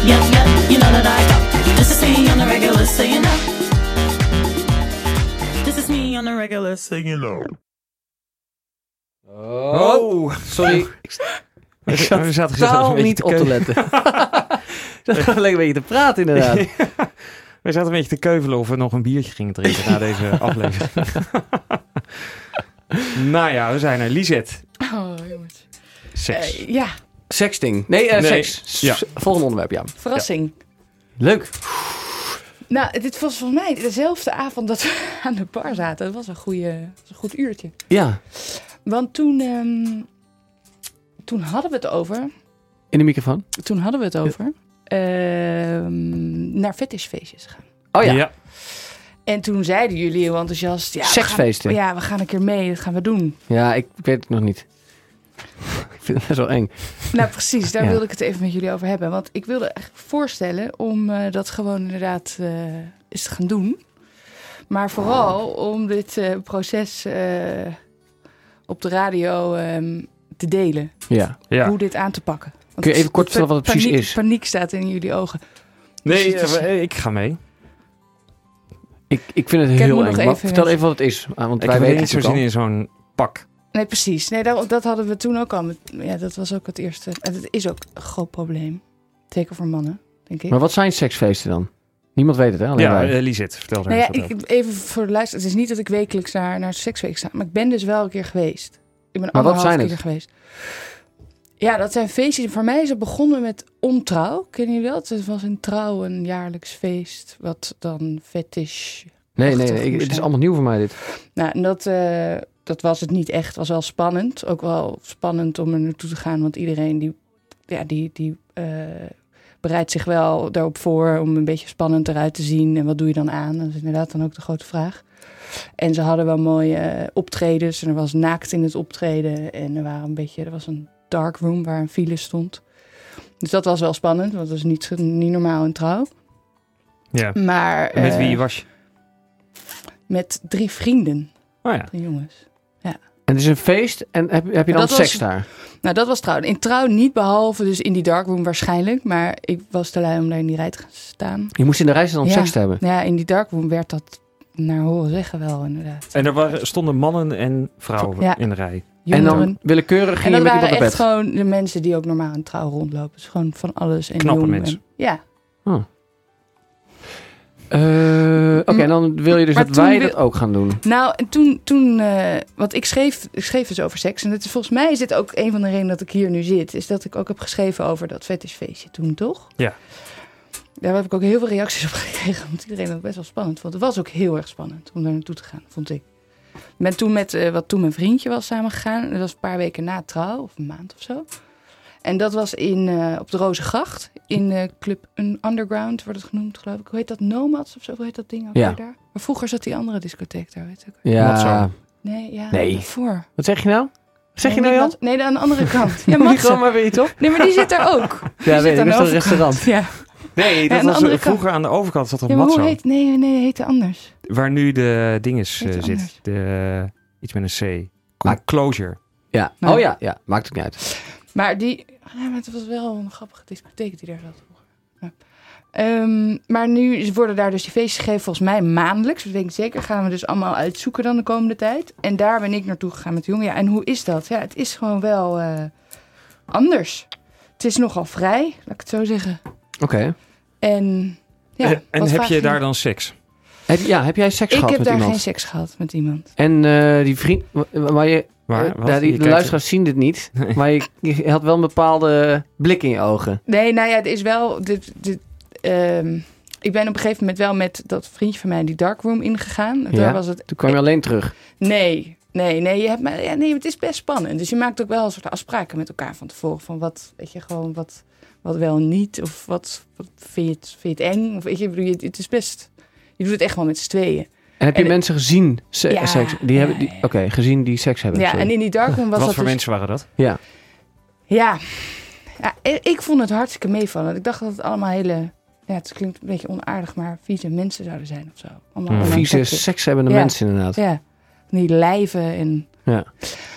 [SPEAKER 8] Yep, yep, you know that I go. This is me on the regular, so you know. This is me on the regular, so you know.
[SPEAKER 3] Oh, <laughs> sorry.
[SPEAKER 1] We
[SPEAKER 3] zat
[SPEAKER 1] zaten gezellig een
[SPEAKER 3] Totaal
[SPEAKER 1] beetje
[SPEAKER 3] niet
[SPEAKER 1] te
[SPEAKER 3] op te
[SPEAKER 1] keu-
[SPEAKER 3] letten. <laughs> Dat gewoon lekker een beetje te
[SPEAKER 1] <laughs>
[SPEAKER 3] praten inderdaad.
[SPEAKER 1] We zaten een beetje te keuvelen of we nog een biertje gingen drinken na
[SPEAKER 3] <laughs>
[SPEAKER 1] deze aflevering. <laughs> nou ja, we zijn er. Lisette,
[SPEAKER 4] Oh, jongens.
[SPEAKER 1] seks.
[SPEAKER 4] Eh, ja,
[SPEAKER 3] Sexting. Nee, eh,
[SPEAKER 1] Nee.
[SPEAKER 3] seks.
[SPEAKER 1] Ja.
[SPEAKER 3] S- Volgende onderwerp, ja.
[SPEAKER 4] verrassing.
[SPEAKER 3] Leuk.
[SPEAKER 4] Nou, dit was volgens mij dezelfde avond dat we <laughs> aan de bar zaten. Dat was een, goede, was een goed uurtje.
[SPEAKER 3] Ja,
[SPEAKER 4] Want toen, ehm, toen hadden we het over.
[SPEAKER 3] in de microfoon.
[SPEAKER 4] Toen hadden we het over. ehm, naar fetishfeestjes gaan.
[SPEAKER 3] Oh ja,
[SPEAKER 4] En toen zeiden jullie heel enthousiast. Ja, we gaan-
[SPEAKER 3] Seksfeesten.
[SPEAKER 4] ja, we gaan een keer mee. Dat gaan we doen.
[SPEAKER 3] Ja, ik ik weet het nog niet. <laughs> ik vind het best wel eng.
[SPEAKER 4] Nou, precies. Daar
[SPEAKER 3] Ja.
[SPEAKER 4] wilde ik het even met jullie over hebben. Want ik wilde eigenlijk voorstellen om eh, dat gewoon inderdaad eh, eens te gaan doen. Maar vooral om dit eh, proces eh, op de radio ehm, te delen.
[SPEAKER 3] Ja.
[SPEAKER 1] Ja.
[SPEAKER 4] Hoe dit aan te pakken. Want
[SPEAKER 3] Kun je even kort vertellen wat het precies
[SPEAKER 4] paniek,
[SPEAKER 3] is?
[SPEAKER 4] Paniek staat in jullie ogen.
[SPEAKER 1] Nee,
[SPEAKER 4] Dus het is-
[SPEAKER 1] eh, we- ik ga mee.
[SPEAKER 3] Ik, ik vind het
[SPEAKER 4] Ken me
[SPEAKER 3] heel
[SPEAKER 4] nog
[SPEAKER 3] eng.
[SPEAKER 4] even,
[SPEAKER 3] Maar vertel
[SPEAKER 4] mensen.
[SPEAKER 3] even wat het is. ah, Want
[SPEAKER 1] Ik heb
[SPEAKER 3] wij
[SPEAKER 1] er
[SPEAKER 3] weten
[SPEAKER 1] niet
[SPEAKER 3] het
[SPEAKER 1] zo
[SPEAKER 3] ook
[SPEAKER 1] zin
[SPEAKER 3] al.
[SPEAKER 1] in zo'n pak.
[SPEAKER 4] Nee, precies. Nee, dat, dat hadden we toen ook al. met- Ja, dat was ook het eerste. En dat is ook een groot probleem. Zeker voor mannen, denk ik.
[SPEAKER 3] Maar wat zijn seksfeesten dan? Niemand weet het, hè? Alleen
[SPEAKER 1] ja,
[SPEAKER 3] wij.
[SPEAKER 1] eh, Lisette, vertel daar
[SPEAKER 4] Nou ja,
[SPEAKER 1] eens wat
[SPEAKER 4] ik, even voor de luister. Het is niet dat ik wekelijks naar, naar seksweek sta. Maar ik ben dus wel een keer geweest. Ik ben
[SPEAKER 3] wat
[SPEAKER 4] anderhalf
[SPEAKER 3] zijn
[SPEAKER 4] keer
[SPEAKER 3] het?
[SPEAKER 4] geweest. Ja, dat zijn feestjes. Voor mij is het begonnen met ontrouw. Kennen jullie dat? Het was in trouw een jaarlijks feest. Wat dan fetish
[SPEAKER 3] Nee, nee,
[SPEAKER 4] Prachtig
[SPEAKER 3] nee. ik-
[SPEAKER 4] moest
[SPEAKER 3] het is
[SPEAKER 4] zijn.
[SPEAKER 3] allemaal nieuw voor mij, dit.
[SPEAKER 4] Nou, en dat, eh, dat was het niet echt. Het was wel spannend. Ook wel spannend om er naartoe te gaan. Want iedereen die, ja, die, die eh, bereidt zich wel daarop voor om een beetje spannend eruit te zien. En wat doe je dan aan? Dat is inderdaad dan ook de grote vraag. En ze hadden wel mooie eh, optredens. En er was naakt in het optreden. En er, waren een beetje, er was een dark room waar een file stond. Dus dat was wel spannend, want dat is niet, niet normaal in trouw.
[SPEAKER 1] doen. Ja.
[SPEAKER 4] Maar
[SPEAKER 1] En Met
[SPEAKER 4] eh,
[SPEAKER 1] wie was je?
[SPEAKER 4] met drie vrienden,
[SPEAKER 1] Oh ja.
[SPEAKER 4] drie jongens.
[SPEAKER 3] En het is een feest en heb, heb je dan
[SPEAKER 4] Dat was-
[SPEAKER 3] seks daar?
[SPEAKER 4] Nou, dat was trouw. In trouw niet, behalve dus in die darkroom waarschijnlijk. Maar ik was te lui om daar in die rij te gaan staan.
[SPEAKER 3] Je moest in de reis dan om
[SPEAKER 4] Ja.
[SPEAKER 3] seks te hebben.
[SPEAKER 4] Ja, in die darkroom werd dat naar horen zeggen wel inderdaad.
[SPEAKER 1] En er waren, stonden mannen en vrouwen
[SPEAKER 4] Ja.
[SPEAKER 1] in de rij.
[SPEAKER 3] En
[SPEAKER 4] Jongeren.
[SPEAKER 3] dan willekeurig
[SPEAKER 4] en
[SPEAKER 3] ging
[SPEAKER 4] dat
[SPEAKER 3] je met iemand
[SPEAKER 4] waren
[SPEAKER 3] naar
[SPEAKER 4] echt
[SPEAKER 3] bed.
[SPEAKER 4] gewoon de mensen die ook normaal in trouw rondlopen. Dus gewoon van alles. En
[SPEAKER 1] Knappe
[SPEAKER 4] jong
[SPEAKER 1] mensen.
[SPEAKER 4] en- ja.
[SPEAKER 3] Eh, Oké, en dan wil je dus
[SPEAKER 4] Mm. Maar
[SPEAKER 3] dat
[SPEAKER 4] toen
[SPEAKER 3] wij
[SPEAKER 4] wil-
[SPEAKER 3] dat ook gaan doen.
[SPEAKER 4] Nou, en toen, toen eh, want ik schreef, ik schreef dus over seks. En het is, volgens mij is dit ook een van de redenen dat ik hier nu zit. Is dat ik ook heb geschreven over dat fetishfeestje toen, toch?
[SPEAKER 1] Ja.
[SPEAKER 4] Daar heb ik ook heel veel reacties op <laughs> gekregen. Omdat iedereen dat best wel spannend vond. Het was ook heel erg spannend om daar naartoe te gaan, vond ik. Ik ben toen met, eh, wat toen mijn vriendje was samengegaan. Dat was een paar weken na trouw, of een maand of zo. En dat was in, eh, op de Rozengracht. In eh, Club Un- Underground wordt het genoemd, geloof ik. Hoe heet dat? Nomads of zo? Hoe heet dat ding ook
[SPEAKER 3] Ja.
[SPEAKER 4] weer daar? Maar vroeger zat die andere discotheek daar, weet ik.
[SPEAKER 1] Wat zo?
[SPEAKER 3] Ja.
[SPEAKER 4] Nee, ja,
[SPEAKER 3] Nee.
[SPEAKER 4] daarvoor.
[SPEAKER 3] Wat zeg je nou? Wat zeg je
[SPEAKER 4] Nee,
[SPEAKER 3] nou, Jan?
[SPEAKER 4] niet Mats- Nee, aan de
[SPEAKER 3] <laughs>
[SPEAKER 4] andere kant. Ja,
[SPEAKER 3] Moet je
[SPEAKER 4] Matze.
[SPEAKER 3] gewoon maar weer iets op?
[SPEAKER 4] Nee, maar die zit daar
[SPEAKER 3] <laughs>
[SPEAKER 4] ook.
[SPEAKER 3] Ja, weet ik.
[SPEAKER 4] aan
[SPEAKER 3] Dat
[SPEAKER 4] de
[SPEAKER 3] is een
[SPEAKER 4] overkant. <laughs>
[SPEAKER 3] restaurant.
[SPEAKER 4] Ja,
[SPEAKER 1] Nee,
[SPEAKER 4] aan
[SPEAKER 1] dat
[SPEAKER 4] de
[SPEAKER 1] was
[SPEAKER 4] andere
[SPEAKER 1] eh,
[SPEAKER 4] kant.
[SPEAKER 1] vroeger aan de overkant zat een
[SPEAKER 4] ja maar hoe
[SPEAKER 1] matzo.
[SPEAKER 4] heet... Nee, nee, nee, heette anders.
[SPEAKER 1] Waar nu de dinges
[SPEAKER 4] Heet
[SPEAKER 1] eh,
[SPEAKER 4] het anders?
[SPEAKER 1] zit. De, eh, iets met een C. Ah, closure.
[SPEAKER 3] Ja.
[SPEAKER 4] Nou.
[SPEAKER 3] Oh ja, ja. Maakt ook niet uit.
[SPEAKER 4] Maar die... Ja, maar het was wel een grappige discotheek die daar zat vroeger. Ja. Ehm, maar nu worden daar dus die feestjes gegeven volgens mij maandelijks. Dat denk ik zeker. Gaan we dus allemaal uitzoeken dan de komende tijd. En daar ben ik naartoe gegaan met de jongen. Ja, en hoe is dat? Ja, het is gewoon wel eh, anders. Het is nogal vrij, laat ik het zo zeggen.
[SPEAKER 3] Oké.
[SPEAKER 4] En ja,
[SPEAKER 1] Eh, en
[SPEAKER 4] wat
[SPEAKER 1] heb
[SPEAKER 4] vaak
[SPEAKER 1] je
[SPEAKER 4] ging-
[SPEAKER 1] daar dan seks?
[SPEAKER 3] Heb, ja, heb jij seks
[SPEAKER 4] ik
[SPEAKER 3] gehad
[SPEAKER 4] heb
[SPEAKER 3] met
[SPEAKER 4] daar
[SPEAKER 3] iemand?
[SPEAKER 4] geen seks gehad met iemand.
[SPEAKER 3] En eh, die vriend, wa- waar je,
[SPEAKER 1] Maar,
[SPEAKER 3] eh,
[SPEAKER 1] wat?
[SPEAKER 3] ja,
[SPEAKER 1] Je
[SPEAKER 3] die,
[SPEAKER 1] kijkt
[SPEAKER 3] de
[SPEAKER 1] er-
[SPEAKER 3] luisteraars zien dit
[SPEAKER 1] <laughs>
[SPEAKER 3] niet, maar je, je had wel een bepaalde blik in je ogen.
[SPEAKER 4] Nee, nou ja, het is wel. Dit, dit, ehm, ik ben op een gegeven moment wel met dat vriendje van mij die darkroom ingegaan.
[SPEAKER 3] Ja.
[SPEAKER 4] Nou, Daar was het.
[SPEAKER 3] Toen kwam je alleen terug.
[SPEAKER 4] Nee, nee, nee, je hebt, maar, ja, nee. Het is best spannend. Dus je maakt ook wel een soort afspraken met elkaar van tevoren. Van wat, weet je, gewoon wat, wat wel niet. Of wat, wat vind, je het, vind je het eng? Of weet je, ik bedoel, je- het is best. Je doet het echt wel met z'n tweeën.
[SPEAKER 3] En heb je
[SPEAKER 4] En-
[SPEAKER 3] mensen gezien se-
[SPEAKER 4] Ja,
[SPEAKER 3] seks? Die
[SPEAKER 4] ja,
[SPEAKER 3] hebben, die-
[SPEAKER 4] ja.
[SPEAKER 3] Oké, gezien die seks hebben.
[SPEAKER 4] Ja,
[SPEAKER 3] sorry.
[SPEAKER 4] en in die darkroom was
[SPEAKER 1] Wat
[SPEAKER 4] dat
[SPEAKER 1] voor
[SPEAKER 4] dus-
[SPEAKER 1] mensen waren dat?
[SPEAKER 3] ja.
[SPEAKER 4] Ja. ja, i- ik vond het hartstikke meevallen. Ik dacht dat het allemaal hele. Ja, het klinkt een beetje onaardig, maar vieze mensen zouden zijn of zo. Allemaal
[SPEAKER 1] Hmm.
[SPEAKER 4] allemaal
[SPEAKER 3] Vieze
[SPEAKER 4] toxic.
[SPEAKER 3] seks hebbende
[SPEAKER 4] Ja.
[SPEAKER 3] mensen inderdaad.
[SPEAKER 4] Ja, van die lijven en...
[SPEAKER 3] Ja.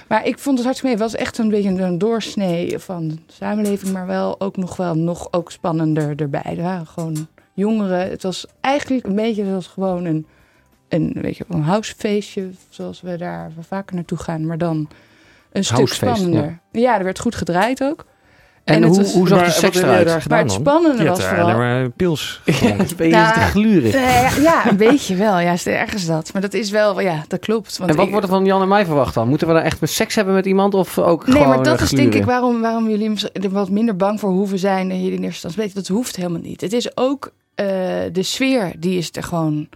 [SPEAKER 4] Maar ik vond het hartstikke mee. Het was echt een beetje een doorsnee van de samenleving, maar wel ook nog wel nog ook spannender erbij. Er waren gewoon jongeren. Het was eigenlijk een beetje zoals gewoon een, een, weet je, een housefeestje, zoals we daar vaker naartoe gaan, maar dan een stuk
[SPEAKER 3] Housefeest,
[SPEAKER 4] spannender. Ja. er werd goed gedraaid ook.
[SPEAKER 3] En,
[SPEAKER 4] En het
[SPEAKER 3] hoe,
[SPEAKER 4] was-
[SPEAKER 3] hoe zag
[SPEAKER 1] Maar
[SPEAKER 3] de
[SPEAKER 1] wat heb
[SPEAKER 3] seks
[SPEAKER 1] jij
[SPEAKER 3] eruit?
[SPEAKER 1] daar
[SPEAKER 4] Maar
[SPEAKER 1] gedaan
[SPEAKER 4] het
[SPEAKER 1] dan?
[SPEAKER 4] spannende
[SPEAKER 1] Je had
[SPEAKER 4] was
[SPEAKER 1] daar
[SPEAKER 4] vooral...
[SPEAKER 1] alleen maar eh, pils.
[SPEAKER 3] <laughs> Ja, het ben je
[SPEAKER 4] Nou,
[SPEAKER 3] te gluren.
[SPEAKER 4] Eh, ja, een beetje wel. Ja, is ergens dat. Maar dat is wel, ja, dat klopt. Want
[SPEAKER 3] En wat
[SPEAKER 4] ik-
[SPEAKER 3] wordt er van Jan en mij verwacht dan? Moeten we dan echt met seks hebben met iemand of ook
[SPEAKER 4] Nee,
[SPEAKER 3] gewoon
[SPEAKER 4] maar dat
[SPEAKER 3] eh,
[SPEAKER 4] is denk ik
[SPEAKER 3] gluren?
[SPEAKER 4] waarom, waarom jullie mis- er wat minder bang voor hoeven zijn dan jullie in eerste instantie weten. Dat hoeft helemaal niet. Het is ook eh, de sfeer, die is er gewoon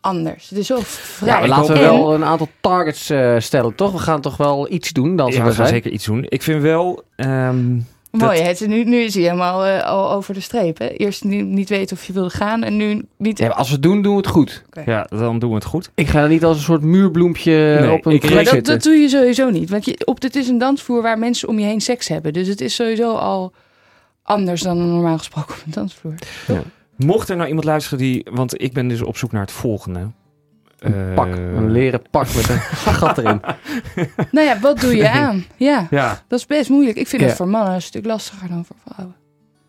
[SPEAKER 4] anders. Het is zo vrij.
[SPEAKER 3] Ja, maar laten we
[SPEAKER 4] En-
[SPEAKER 3] wel een aantal targets eh, stellen, toch? We gaan toch wel iets doen dan,
[SPEAKER 1] Ja,
[SPEAKER 3] zullen
[SPEAKER 1] we
[SPEAKER 3] we
[SPEAKER 1] gaan
[SPEAKER 3] zijn.
[SPEAKER 1] zeker iets doen. Ik vind wel... ehm,
[SPEAKER 4] Mooi, hè? Het is nu, nu is hij helemaal eh, al over de streep. Hè? Eerst ni- niet weten of je wilde gaan en nu niet.
[SPEAKER 3] Ja, maar als we het doen, doen we het goed.
[SPEAKER 1] ja, dan doen we het goed.
[SPEAKER 3] Ik ga er niet als een soort muurbloempje
[SPEAKER 1] Nee,
[SPEAKER 3] op een
[SPEAKER 1] ik-
[SPEAKER 3] plek
[SPEAKER 4] Eh, maar dat,
[SPEAKER 3] zitten.
[SPEAKER 4] dat doe je sowieso niet. Want je, op, dit is een dansvloer waar mensen om je heen seks hebben. Dus het is sowieso al anders dan een normaal gesproken <laughs> op een dansvloer.
[SPEAKER 1] Mocht er nou iemand luisteren die... Want ik ben dus op zoek naar het volgende. Eh,
[SPEAKER 3] Pak, een leren pak
[SPEAKER 1] <laughs>
[SPEAKER 3] met een gat erin.
[SPEAKER 4] nou ja, wat doe je aan? Ja,
[SPEAKER 1] Ja,
[SPEAKER 4] dat is best moeilijk. Ik vind
[SPEAKER 3] Ja.
[SPEAKER 4] het voor mannen een stuk lastiger dan voor vrouwen.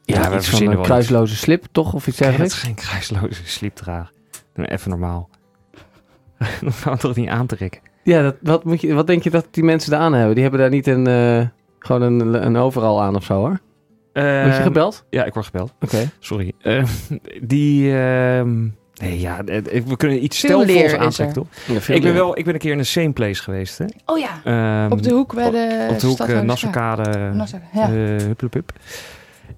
[SPEAKER 1] Ja, we
[SPEAKER 3] Ja, iets van
[SPEAKER 1] verzinnen
[SPEAKER 3] een
[SPEAKER 1] wel
[SPEAKER 3] kruisloze slip, toch? Of iets
[SPEAKER 1] ik heb
[SPEAKER 3] dergelijks.
[SPEAKER 1] geen kruisloze slipdrager. Doe nou even normaal. <laughs> dat gaan we toch niet aantrekken?
[SPEAKER 3] Ja, dat, wat, moet je, wat denk je dat die mensen daar aan hebben? Die hebben daar niet een, eh, gewoon een, een overal aan of zo, hoor. Word je
[SPEAKER 1] Ehm,
[SPEAKER 3] gebeld?
[SPEAKER 1] Ja, ik word gebeld.
[SPEAKER 3] Oké.
[SPEAKER 1] Sorry. Eh, <laughs> die... ehm, nee, ja, eh, we kunnen iets
[SPEAKER 4] Veel
[SPEAKER 1] stelvols
[SPEAKER 4] leer is
[SPEAKER 1] aantrekken,
[SPEAKER 4] er.
[SPEAKER 1] toch? Ik ben, wel, ik ben een keer in een same place geweest. Hè?
[SPEAKER 4] Oh ja,
[SPEAKER 1] Ehm,
[SPEAKER 4] op de hoek bij de
[SPEAKER 1] op de hoek eh,
[SPEAKER 4] Stadhuis.
[SPEAKER 1] Nassaukade.
[SPEAKER 4] Ja, Nassau,
[SPEAKER 1] eh,
[SPEAKER 4] ja.
[SPEAKER 1] hup, hup, hup.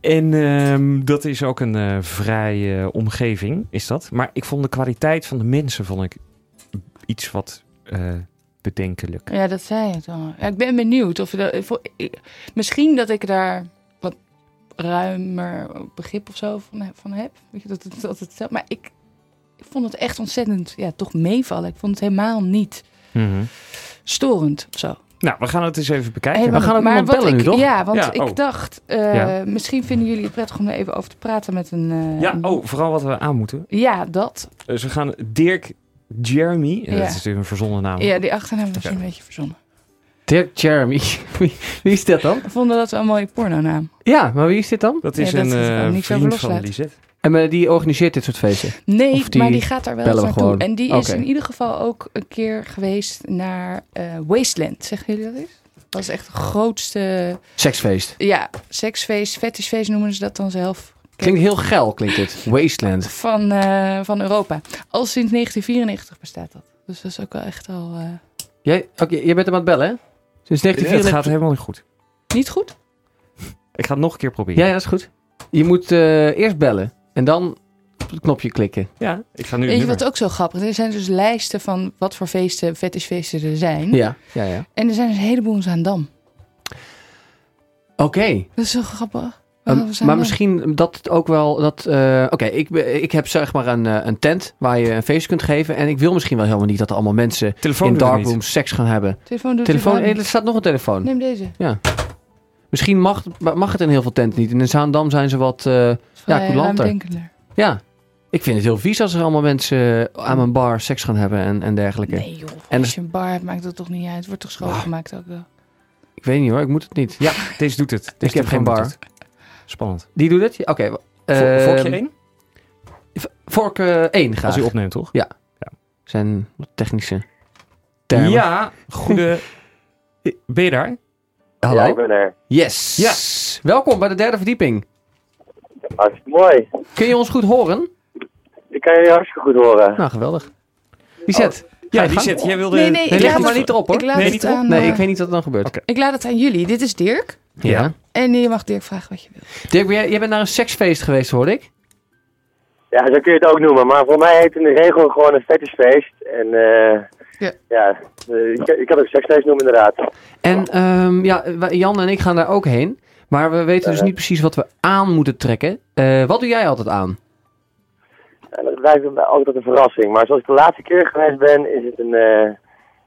[SPEAKER 1] En ehm, dat is ook een eh, vrije omgeving, is dat. Maar ik vond de kwaliteit van de mensen vond ik iets wat eh, bedenkelijk.
[SPEAKER 4] ja, dat zei je dan. Ja, ik ben benieuwd of je dat, ik vo- ik- misschien dat ik daar wat ruimer begrip of zo van, van heb. Weet je, dat, het- dat, het, maar ik, ik vond het echt ontzettend, ja, toch meevallen. Ik vond het helemaal niet
[SPEAKER 3] Mhm.
[SPEAKER 4] storend of zo.
[SPEAKER 1] Nou, we gaan het eens even bekijken.
[SPEAKER 4] Helemaal
[SPEAKER 3] we gaan
[SPEAKER 4] niet.
[SPEAKER 3] ook
[SPEAKER 4] Maar
[SPEAKER 3] iemand
[SPEAKER 4] wat
[SPEAKER 3] bellen
[SPEAKER 4] ik,
[SPEAKER 3] nu, toch?
[SPEAKER 4] Ja, want
[SPEAKER 1] Ja,
[SPEAKER 4] ik
[SPEAKER 1] oh.
[SPEAKER 4] dacht, eh,
[SPEAKER 1] Ja.
[SPEAKER 4] misschien vinden jullie het prettig om er even over te praten met een... eh,
[SPEAKER 1] ja,
[SPEAKER 4] een-
[SPEAKER 1] oh, vooral wat we aan moeten.
[SPEAKER 4] Ja, dat.
[SPEAKER 1] Dus we gaan Dirk Jeremy. eh,
[SPEAKER 4] Ja.
[SPEAKER 1] Dat is natuurlijk een verzonnen naam.
[SPEAKER 3] Nou.
[SPEAKER 4] Ja, die achternaam was een beetje verzonnen.
[SPEAKER 3] Dirk Jeremy. <laughs> Wie, wie is dit dan?
[SPEAKER 4] We vonden dat wel een mooie pornonaam.
[SPEAKER 3] Ja, maar wie is dit dan?
[SPEAKER 1] Dat is
[SPEAKER 4] Ja, Oh, dat
[SPEAKER 1] een
[SPEAKER 4] is wel
[SPEAKER 1] eh,
[SPEAKER 4] niks over
[SPEAKER 1] vriend van
[SPEAKER 4] loslaten.
[SPEAKER 1] Lisette.
[SPEAKER 3] En eh, die organiseert dit soort feesten.
[SPEAKER 4] Nee,
[SPEAKER 3] Of die
[SPEAKER 4] maar die gaat daar wel eens
[SPEAKER 3] bellen we
[SPEAKER 4] naartoe.
[SPEAKER 3] gewoon.
[SPEAKER 4] En die is
[SPEAKER 3] Oké.
[SPEAKER 4] in ieder geval ook een keer geweest naar eh, Wasteland. Zeggen jullie dat eens? Dat is echt het grootste
[SPEAKER 3] Seksfeest.
[SPEAKER 4] ja, seksfeest, fetishfeest noemen ze dat dan zelf.
[SPEAKER 3] Klinkt heel geil, klinkt
[SPEAKER 4] <laughs>
[SPEAKER 3] dit. Wasteland.
[SPEAKER 4] Van, eh, van Europa. Al sinds 1994 bestaat dat. Dus dat is ook wel echt al eh,
[SPEAKER 3] Jij, oké, jij bent hem aan het bellen, hè? Sinds
[SPEAKER 1] Het
[SPEAKER 3] 1994.
[SPEAKER 1] gaat helemaal niet goed.
[SPEAKER 4] niet goed.
[SPEAKER 1] Ik ga het nog een keer proberen.
[SPEAKER 3] Ja, ja, dat is goed. Je moet eh, eerst bellen en dan op het knopje klikken.
[SPEAKER 1] Ja, ik ga nu
[SPEAKER 4] Weet
[SPEAKER 1] het nummer.
[SPEAKER 4] je wat ook zo grappig is? Er zijn dus lijsten van wat voor feesten, fetishfeesten er zijn.
[SPEAKER 3] Ja, ja, ja.
[SPEAKER 4] En er zijn dus een heleboel in Zaandam.
[SPEAKER 3] Oké.
[SPEAKER 4] Dat is zo grappig.
[SPEAKER 3] Ehm,
[SPEAKER 4] Waarom zijn
[SPEAKER 3] maar
[SPEAKER 4] Oh, we-
[SPEAKER 3] misschien dat ook wel dat. eh, Oké, ik, be- ik heb zeg maar een, eh, een tent waar je een feest kunt geven. En ik wil misschien wel helemaal niet dat er allemaal mensen
[SPEAKER 1] Telefoon
[SPEAKER 3] in
[SPEAKER 1] doet het
[SPEAKER 3] darkrooms seks gaan hebben.
[SPEAKER 4] Telefoon doet
[SPEAKER 3] Telefoon,
[SPEAKER 4] het
[SPEAKER 3] eh, er
[SPEAKER 4] niet.
[SPEAKER 3] staat nog een telefoon.
[SPEAKER 4] Neem deze.
[SPEAKER 3] Misschien mag, mag het in heel veel tenten niet. En in Zaandam zijn ze wat. eh, Ja,
[SPEAKER 4] Vrij
[SPEAKER 3] coulanter.
[SPEAKER 4] ruimdenkender.
[SPEAKER 3] ja, ik vind het heel vies als er allemaal mensen eh, aan mijn bar seks gaan hebben en, en dergelijke.
[SPEAKER 4] Nee joh,
[SPEAKER 3] En
[SPEAKER 4] als je een bar hebt, maakt dat toch niet uit. Het wordt toch schoongemaakt ook wel.
[SPEAKER 3] Ik weet niet hoor, ik moet het niet.
[SPEAKER 1] Ja, deze doet het. Deze
[SPEAKER 3] <laughs> Ik heb
[SPEAKER 1] telefoon
[SPEAKER 3] geen bar.
[SPEAKER 1] doet het. Spannend.
[SPEAKER 3] Die doet het? Ja, Oké. w-
[SPEAKER 1] Vo-
[SPEAKER 3] ehm,
[SPEAKER 1] Volg je één?
[SPEAKER 3] Vork 1 graag.
[SPEAKER 1] Als u opneemt, toch?
[SPEAKER 3] Zijn wat technische termen.
[SPEAKER 1] Ja,
[SPEAKER 3] <laughs>
[SPEAKER 1] goede. Ben je daar?
[SPEAKER 3] hallo.
[SPEAKER 9] Ja, ik ben er.
[SPEAKER 3] Yes.
[SPEAKER 1] Ja.
[SPEAKER 3] Welkom bij de derde verdieping.
[SPEAKER 9] Hartstikke mooi.
[SPEAKER 3] Kun je ons goed horen?
[SPEAKER 9] Ik kan je hartstikke goed horen.
[SPEAKER 3] Nou, geweldig.
[SPEAKER 9] Oh.
[SPEAKER 3] Lisette,
[SPEAKER 1] Ja,
[SPEAKER 3] je
[SPEAKER 1] die
[SPEAKER 3] gang.
[SPEAKER 1] zit. Jij wilde...
[SPEAKER 4] Nee, nee,
[SPEAKER 3] nee,
[SPEAKER 4] ik
[SPEAKER 3] leg
[SPEAKER 4] laat,
[SPEAKER 3] het maar
[SPEAKER 4] het,
[SPEAKER 3] niet erop
[SPEAKER 4] ik
[SPEAKER 3] hoor.
[SPEAKER 4] laat
[SPEAKER 1] Nee,
[SPEAKER 4] het
[SPEAKER 1] niet
[SPEAKER 4] aan,
[SPEAKER 3] Nee,
[SPEAKER 4] eh,
[SPEAKER 3] ik weet niet wat er dan gebeurt.
[SPEAKER 1] Oké.
[SPEAKER 4] ik laat het aan jullie. Dit is Dirk.
[SPEAKER 3] Ja.
[SPEAKER 4] En je mag Dirk vragen wat je wil.
[SPEAKER 3] Dirk, ben jij, jij bent naar een seksfeest geweest, hoorde ik.
[SPEAKER 9] Ja, zo kun je het ook noemen. Maar voor mij heet in de regel gewoon een fetishfeest. En eh,
[SPEAKER 4] Ja.
[SPEAKER 9] ja, eh, ik, ik kan het ook seksfeest noemen inderdaad.
[SPEAKER 3] En ehm, ja, wij- Jan en ik gaan daar ook heen. Maar we weten
[SPEAKER 9] Eh.
[SPEAKER 3] dus niet precies wat we aan moeten trekken. Eh, wat doe jij altijd aan?
[SPEAKER 9] En dat blijft bij mij altijd een verrassing. Maar zoals ik de laatste keer geweest ben, is het een eh,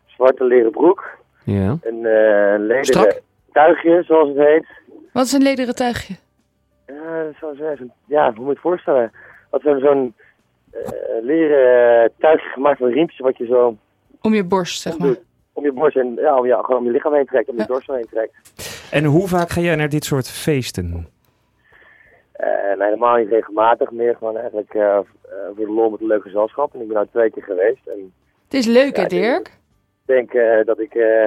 [SPEAKER 9] zwarte leren broek.
[SPEAKER 3] Ja.
[SPEAKER 9] Een eh lederen
[SPEAKER 3] Strak?
[SPEAKER 9] tuigje, zoals het heet.
[SPEAKER 4] Wat is een lederen tuigje?
[SPEAKER 9] Ja, dat zou zeggen. Ja, hoe moet je het voorstellen? Want we hebben zo'n eh, leren eh, tuigje gemaakt van riempjes wat je zo
[SPEAKER 4] Om je borst, zeg maar.
[SPEAKER 9] om je borst en ja, om, ja, gewoon om je lichaam heen trekt, om je
[SPEAKER 4] Ja.
[SPEAKER 9] dorst heen trekt.
[SPEAKER 1] En hoe vaak ga jij naar dit soort feesten?
[SPEAKER 9] Eh, nee, helemaal niet regelmatig, meer gewoon eigenlijk eh, eh, voor de lol met een leuk gezelschap. En ik ben nou twee keer geweest en
[SPEAKER 4] Het is leuk,
[SPEAKER 9] Ja,
[SPEAKER 4] hè,
[SPEAKER 9] ik denk-
[SPEAKER 4] Dirk?
[SPEAKER 9] ik denk eh, dat ik eh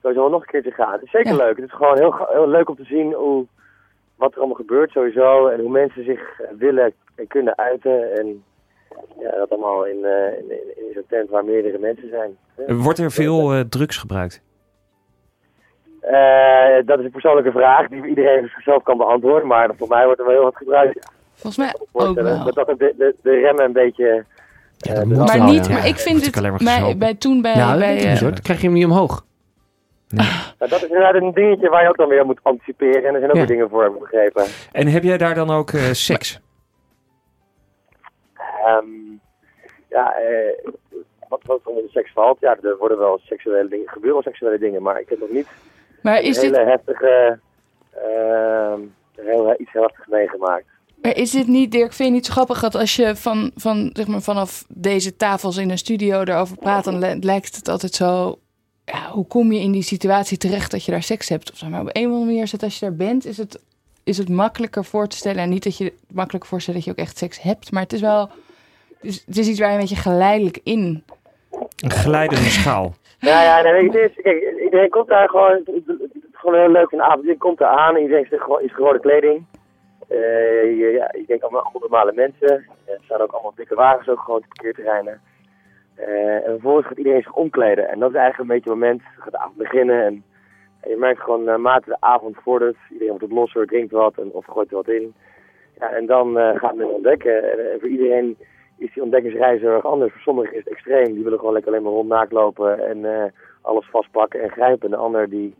[SPEAKER 9] sowieso wel nog een keertje ga. Het is zeker
[SPEAKER 4] Ja.
[SPEAKER 9] leuk. Het is gewoon heel, ga- heel leuk om te zien hoe, wat er allemaal gebeurt sowieso en hoe mensen zich eh, willen en kunnen uiten. En ja, dat allemaal in, eh, in, in, in zo'n tent waar meerdere mensen zijn. Ja.
[SPEAKER 1] Wordt er veel eh, drugs gebruikt?
[SPEAKER 9] Eh, dat is een persoonlijke vraag die iedereen zichzelf kan beantwoorden, maar voor mij wordt er wel heel wat gebruikt.
[SPEAKER 4] Volgens mij ook
[SPEAKER 9] voorstellen.
[SPEAKER 4] wel.
[SPEAKER 9] Dat, dat de, de, de remmen een beetje. eh,
[SPEAKER 3] dat
[SPEAKER 9] de-
[SPEAKER 3] moet
[SPEAKER 4] Maar
[SPEAKER 3] wel,
[SPEAKER 4] niet,
[SPEAKER 3] ja.
[SPEAKER 4] maar ik vind
[SPEAKER 1] Wordt
[SPEAKER 4] het
[SPEAKER 1] ook alleen maar
[SPEAKER 4] bij,
[SPEAKER 1] gezopen.
[SPEAKER 4] bij toen bij...
[SPEAKER 3] Ja, Nou, dat
[SPEAKER 4] bij
[SPEAKER 3] weet ik niet
[SPEAKER 4] eh,
[SPEAKER 3] hoor. Dan krijg je hem niet omhoog.
[SPEAKER 9] Nou, dat is inderdaad een dingetje waar je ook dan weer moet anticiperen. En er zijn ook
[SPEAKER 3] Ja.
[SPEAKER 9] weer dingen voor, heb ik begrepen.
[SPEAKER 1] En heb jij daar dan ook eh, seks?
[SPEAKER 9] Ehm, ja, eh, wat, wat onder de seks valt, ja, er worden wel seksuele dingen, gebeuren wel seksuele dingen, maar ik heb nog niet
[SPEAKER 4] maar is
[SPEAKER 9] hele
[SPEAKER 4] dit,
[SPEAKER 9] heftige, ehm, heel, iets heel heftigs meegemaakt.
[SPEAKER 4] maar is dit niet, Dirk, vind je niet zo grappig dat als je van, van, zeg maar, vanaf deze tafels in een studio erover praat, dan li- lijkt het altijd zo... Ja, hoe kom je in die situatie terecht dat je daar seks hebt? Of zo. Maar op een of andere manier is het als je daar bent, is het, is het makkelijker voor te stellen. En niet dat je het makkelijker voorstelt dat je ook echt seks hebt, maar het is wel... Het is, het is iets waar je een beetje geleidelijk in...
[SPEAKER 1] Een glijdende schaal.
[SPEAKER 9] Ja, ja, nee, weet je, het is- kijk, iedereen komt daar gewoon, het het- het is gewoon heel leuk van de avond. Iedereen komt daar aan, iedereen is gewoon, is gewone kleding. Eh, je, ja, je denkt allemaal allemaal normale mensen. Er staan ook allemaal dikke wagens ook gewoon op parkeerterreinen. Eh, en vervolgens gaat iedereen zich omkleden. En dat is eigenlijk een beetje het moment, dan gaat de avond beginnen. En, en je merkt gewoon, eh, mate de avond vordert, iedereen wordt wat losser, drinkt wat en, of gooit er wat in. Ja, en dan eh, gaat men ontdekken. En, eh, voor iedereen is die ontdekkingsreis heel erg anders. Voor sommigen is het extreem. Die willen gewoon lekker alleen maar rond naakt lopen en eh, alles vastpakken en grijpen. En de ander die,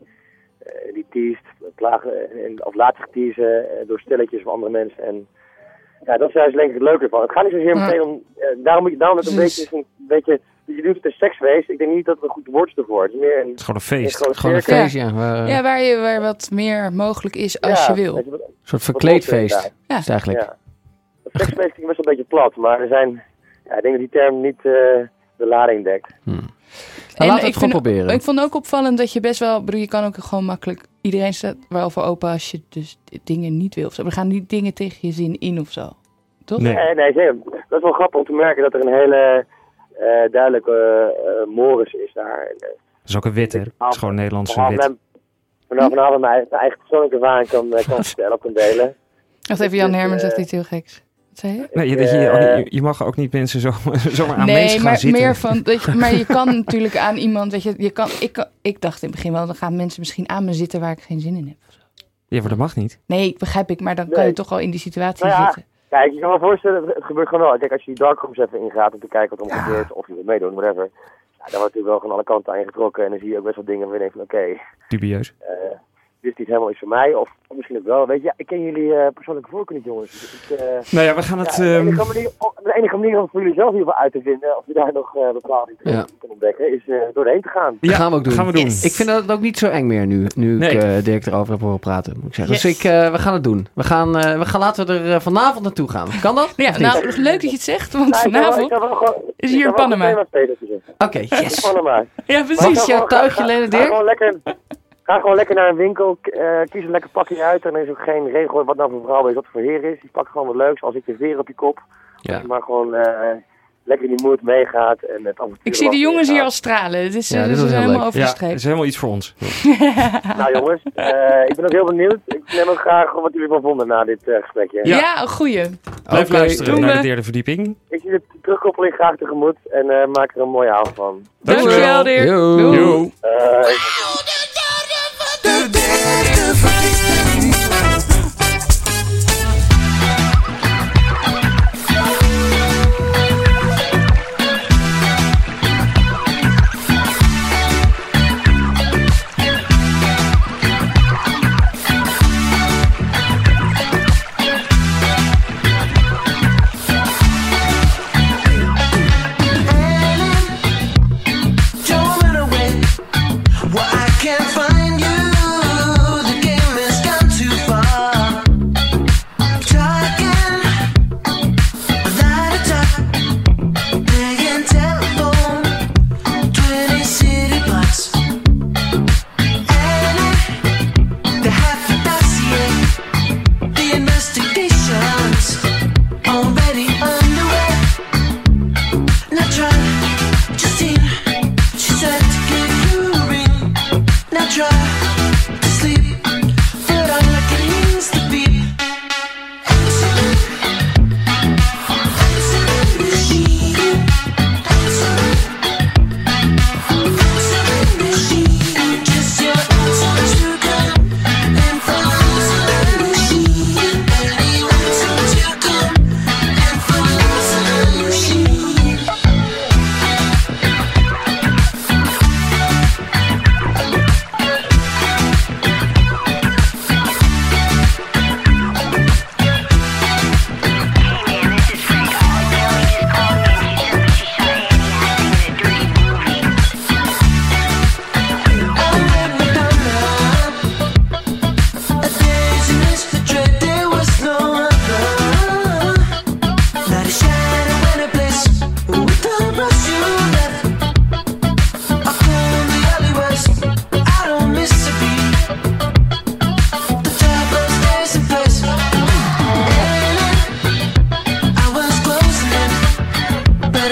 [SPEAKER 9] eh die teest, plagen, en- en, of laat zich teasen eh, door stilletjes van andere mensen. En ja, dat is juist denk ik het leuke van. Het gaat niet zozeer
[SPEAKER 4] Ja.
[SPEAKER 9] meteen om... eh, daarom, moet je- daarom het een
[SPEAKER 4] Precies.
[SPEAKER 9] beetje... Een beetje je doet het een seksfeest. Ik denk niet dat het een goed woord is ervoor. Het is meer een...
[SPEAKER 1] Het is gewoon een
[SPEAKER 9] een
[SPEAKER 1] feest.
[SPEAKER 9] groot
[SPEAKER 3] Gewoon een
[SPEAKER 9] circus.
[SPEAKER 3] feestje. waar-
[SPEAKER 4] Ja, waar, je, waar wat meer mogelijk is als
[SPEAKER 9] Ja,
[SPEAKER 4] je wil.
[SPEAKER 9] weet wat-
[SPEAKER 3] Een soort verkleedfeest.
[SPEAKER 9] Ja.
[SPEAKER 3] Is het eigenlijk.
[SPEAKER 9] Ja. Het seksfeest klinkt best wel een beetje plat, maar er zijn, ja, ik denk dat die term niet eh, de lading dekt.
[SPEAKER 3] Nou, laten we
[SPEAKER 4] ik
[SPEAKER 3] het gewoon
[SPEAKER 4] vind-
[SPEAKER 3] proberen.
[SPEAKER 4] Ik vond ook opvallend dat je best wel... ik bedoel, je kan ook gewoon makkelijk... Iedereen staat wel voor open als je dus dingen niet wil. Of zo. Er gaan niet dingen tegen je zin in of zo. Toch?
[SPEAKER 1] Nee.
[SPEAKER 9] Nee, nee, zeker. Dat is wel grappig om te merken dat er een hele eh, duidelijke eh, eh, moris is daar. En, eh,
[SPEAKER 1] Dat is ook een wit, hè? Het is gewoon een Nederlandse
[SPEAKER 9] Vanaf
[SPEAKER 1] wit. Hm?
[SPEAKER 9] mijn, vanaf vanaf mijn, mijn eigen persoonlijke ervaring kan, eh, kan vertellen, op kan delen.
[SPEAKER 4] Wacht even, Jan Herman
[SPEAKER 9] eh,
[SPEAKER 4] zegt iets heel geks. Wat zei je?
[SPEAKER 1] Nee, je, dat je, oh, je- je mag ook niet mensen zo, <laughs> zomaar aan mensen
[SPEAKER 4] nee,
[SPEAKER 1] gaan
[SPEAKER 4] maar
[SPEAKER 1] zitten.
[SPEAKER 4] meer van... Dat je, maar
[SPEAKER 9] <laughs>
[SPEAKER 4] je kan natuurlijk aan iemand... Weet je, je kan, ik, kan- ik dacht in het begin wel... Dan gaan mensen misschien aan me zitten waar ik geen zin in heb.
[SPEAKER 1] <laughs> Ja, maar dat mag niet.
[SPEAKER 4] Nee, ik begrijp ik. Maar dan kan
[SPEAKER 9] Nee.
[SPEAKER 4] je toch al in die situatie
[SPEAKER 9] Nou ja,
[SPEAKER 4] zitten.
[SPEAKER 9] Kijk, je kan me voorstellen, het gebeurt gewoon wel. Kijk, als je die darkrooms even ingaat om te kijken wat er allemaal gebeurt, of je wilt meedoen, whatever. Ja, dan wordt natuurlijk wel gewoon alle kanten aan je getrokken en dan zie je ook best wel dingen waar je denkt van oké,
[SPEAKER 1] Dubieus.
[SPEAKER 9] eh, dit is niet helemaal iets voor mij. Of, of misschien ook wel. Weet je, ja, ik ken jullie eh, persoonlijke voorkeur niet, jongens. Dus ik, eh,
[SPEAKER 1] Nou ja, we gaan
[SPEAKER 9] ja,
[SPEAKER 1] het...
[SPEAKER 9] de,
[SPEAKER 1] ehm,
[SPEAKER 9] enige manier, om- de enige manier om voor jullie zelf hiervoor uit te vinden, of je daar nog eh bepaalde interesse
[SPEAKER 3] Ja.
[SPEAKER 9] in kan ontdekken, is eh doorheen te gaan.
[SPEAKER 1] ja,
[SPEAKER 3] gaan we ook doen.
[SPEAKER 1] Gaan we doen.
[SPEAKER 3] Ik vind dat ook niet zo eng meer nu, nu ik
[SPEAKER 1] Nee.
[SPEAKER 3] eh, Dirk erover heb horen praten. Moet ik zeggen.
[SPEAKER 4] Yes.
[SPEAKER 3] Dus ik, eh, we gaan het doen. We gaan, eh, we gaan, laten we er eh, vanavond naartoe gaan. Kan dat?
[SPEAKER 4] Ja,
[SPEAKER 3] Of niet?
[SPEAKER 4] nou, leuk dat je het zegt. Want
[SPEAKER 9] Nou, ik kan wel- ik
[SPEAKER 4] vanavond...
[SPEAKER 9] kan wel gewoon-
[SPEAKER 4] is
[SPEAKER 9] ik
[SPEAKER 4] hier
[SPEAKER 9] kan wel
[SPEAKER 4] Panama.
[SPEAKER 9] een themaspelletje zeggen.
[SPEAKER 3] Oké, yes.
[SPEAKER 9] Panama.
[SPEAKER 4] Ja,
[SPEAKER 9] Maar
[SPEAKER 4] precies.
[SPEAKER 9] ga
[SPEAKER 3] Is jouw
[SPEAKER 9] gewoon- ga-
[SPEAKER 3] tuigje
[SPEAKER 9] ga-
[SPEAKER 3] lenen,
[SPEAKER 9] Ga
[SPEAKER 3] Dirk?
[SPEAKER 9] gewoon lekker... Ga gewoon lekker naar een winkel, k- eh, kies een lekker pakje uit. En er is ook geen regel wat nou voor vrouw is, wat voor heer is. Je pakt gewoon wat leuks, als ik de veer op je kop.
[SPEAKER 3] Ja.
[SPEAKER 9] Maar gewoon eh, lekker in die moed meegaat. En het avontuur
[SPEAKER 4] Ik zie de
[SPEAKER 9] wat
[SPEAKER 4] jongens hier
[SPEAKER 9] meegaat.
[SPEAKER 4] al stralen. Het is,
[SPEAKER 3] Ja,
[SPEAKER 4] eh,
[SPEAKER 3] dit
[SPEAKER 4] ze
[SPEAKER 3] was
[SPEAKER 4] zijn
[SPEAKER 3] heel
[SPEAKER 4] helemaal
[SPEAKER 3] leuk.
[SPEAKER 1] Ja, dat
[SPEAKER 4] overgestreept.
[SPEAKER 1] is helemaal iets voor ons.
[SPEAKER 9] Nou jongens, eh, ik ben ook heel benieuwd. Ik neem ook graag wat jullie van vonden na dit eh, gesprekje.
[SPEAKER 4] Ja, een goeie.
[SPEAKER 1] Blijf
[SPEAKER 3] Oké,
[SPEAKER 1] luisteren
[SPEAKER 4] doen
[SPEAKER 1] naar
[SPEAKER 4] we.
[SPEAKER 1] de derde verdieping.
[SPEAKER 9] wens jullie de terugkoppeling graag tegemoet en eh, maak er een mooie avond van.
[SPEAKER 10] Dankjewel, Dirk.
[SPEAKER 3] Yo.
[SPEAKER 10] Doei.
[SPEAKER 1] Yo.
[SPEAKER 9] Eh,
[SPEAKER 2] De derde verlichting.
[SPEAKER 5] Don't run away. Well, I can't find you. The game has gone too far. Talking without a talk. Playing telephone. Twenty city blocks. And the half a dossier. The investigations already underway. Not trying, just in. She said to give you a ring. Now try to sleep, but all I can hear is the beep. Just your answers to come and for solution. Only answers to come and for solution.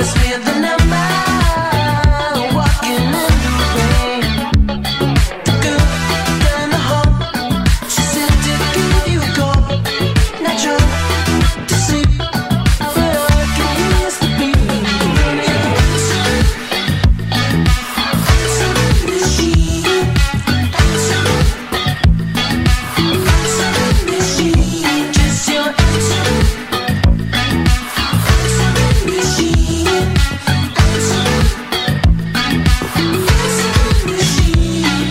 [SPEAKER 5] Spend the number walking in the rain. Thank you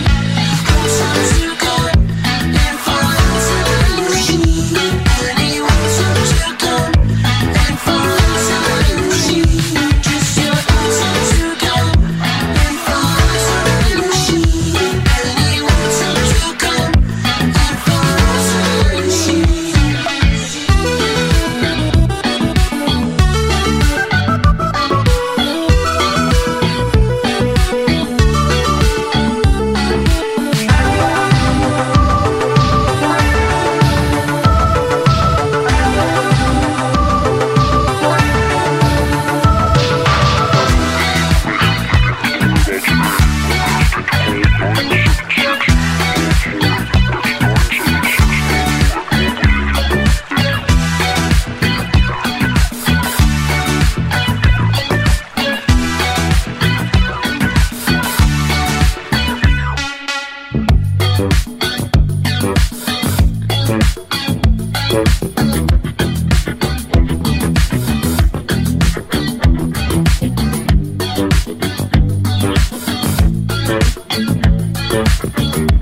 [SPEAKER 4] nou-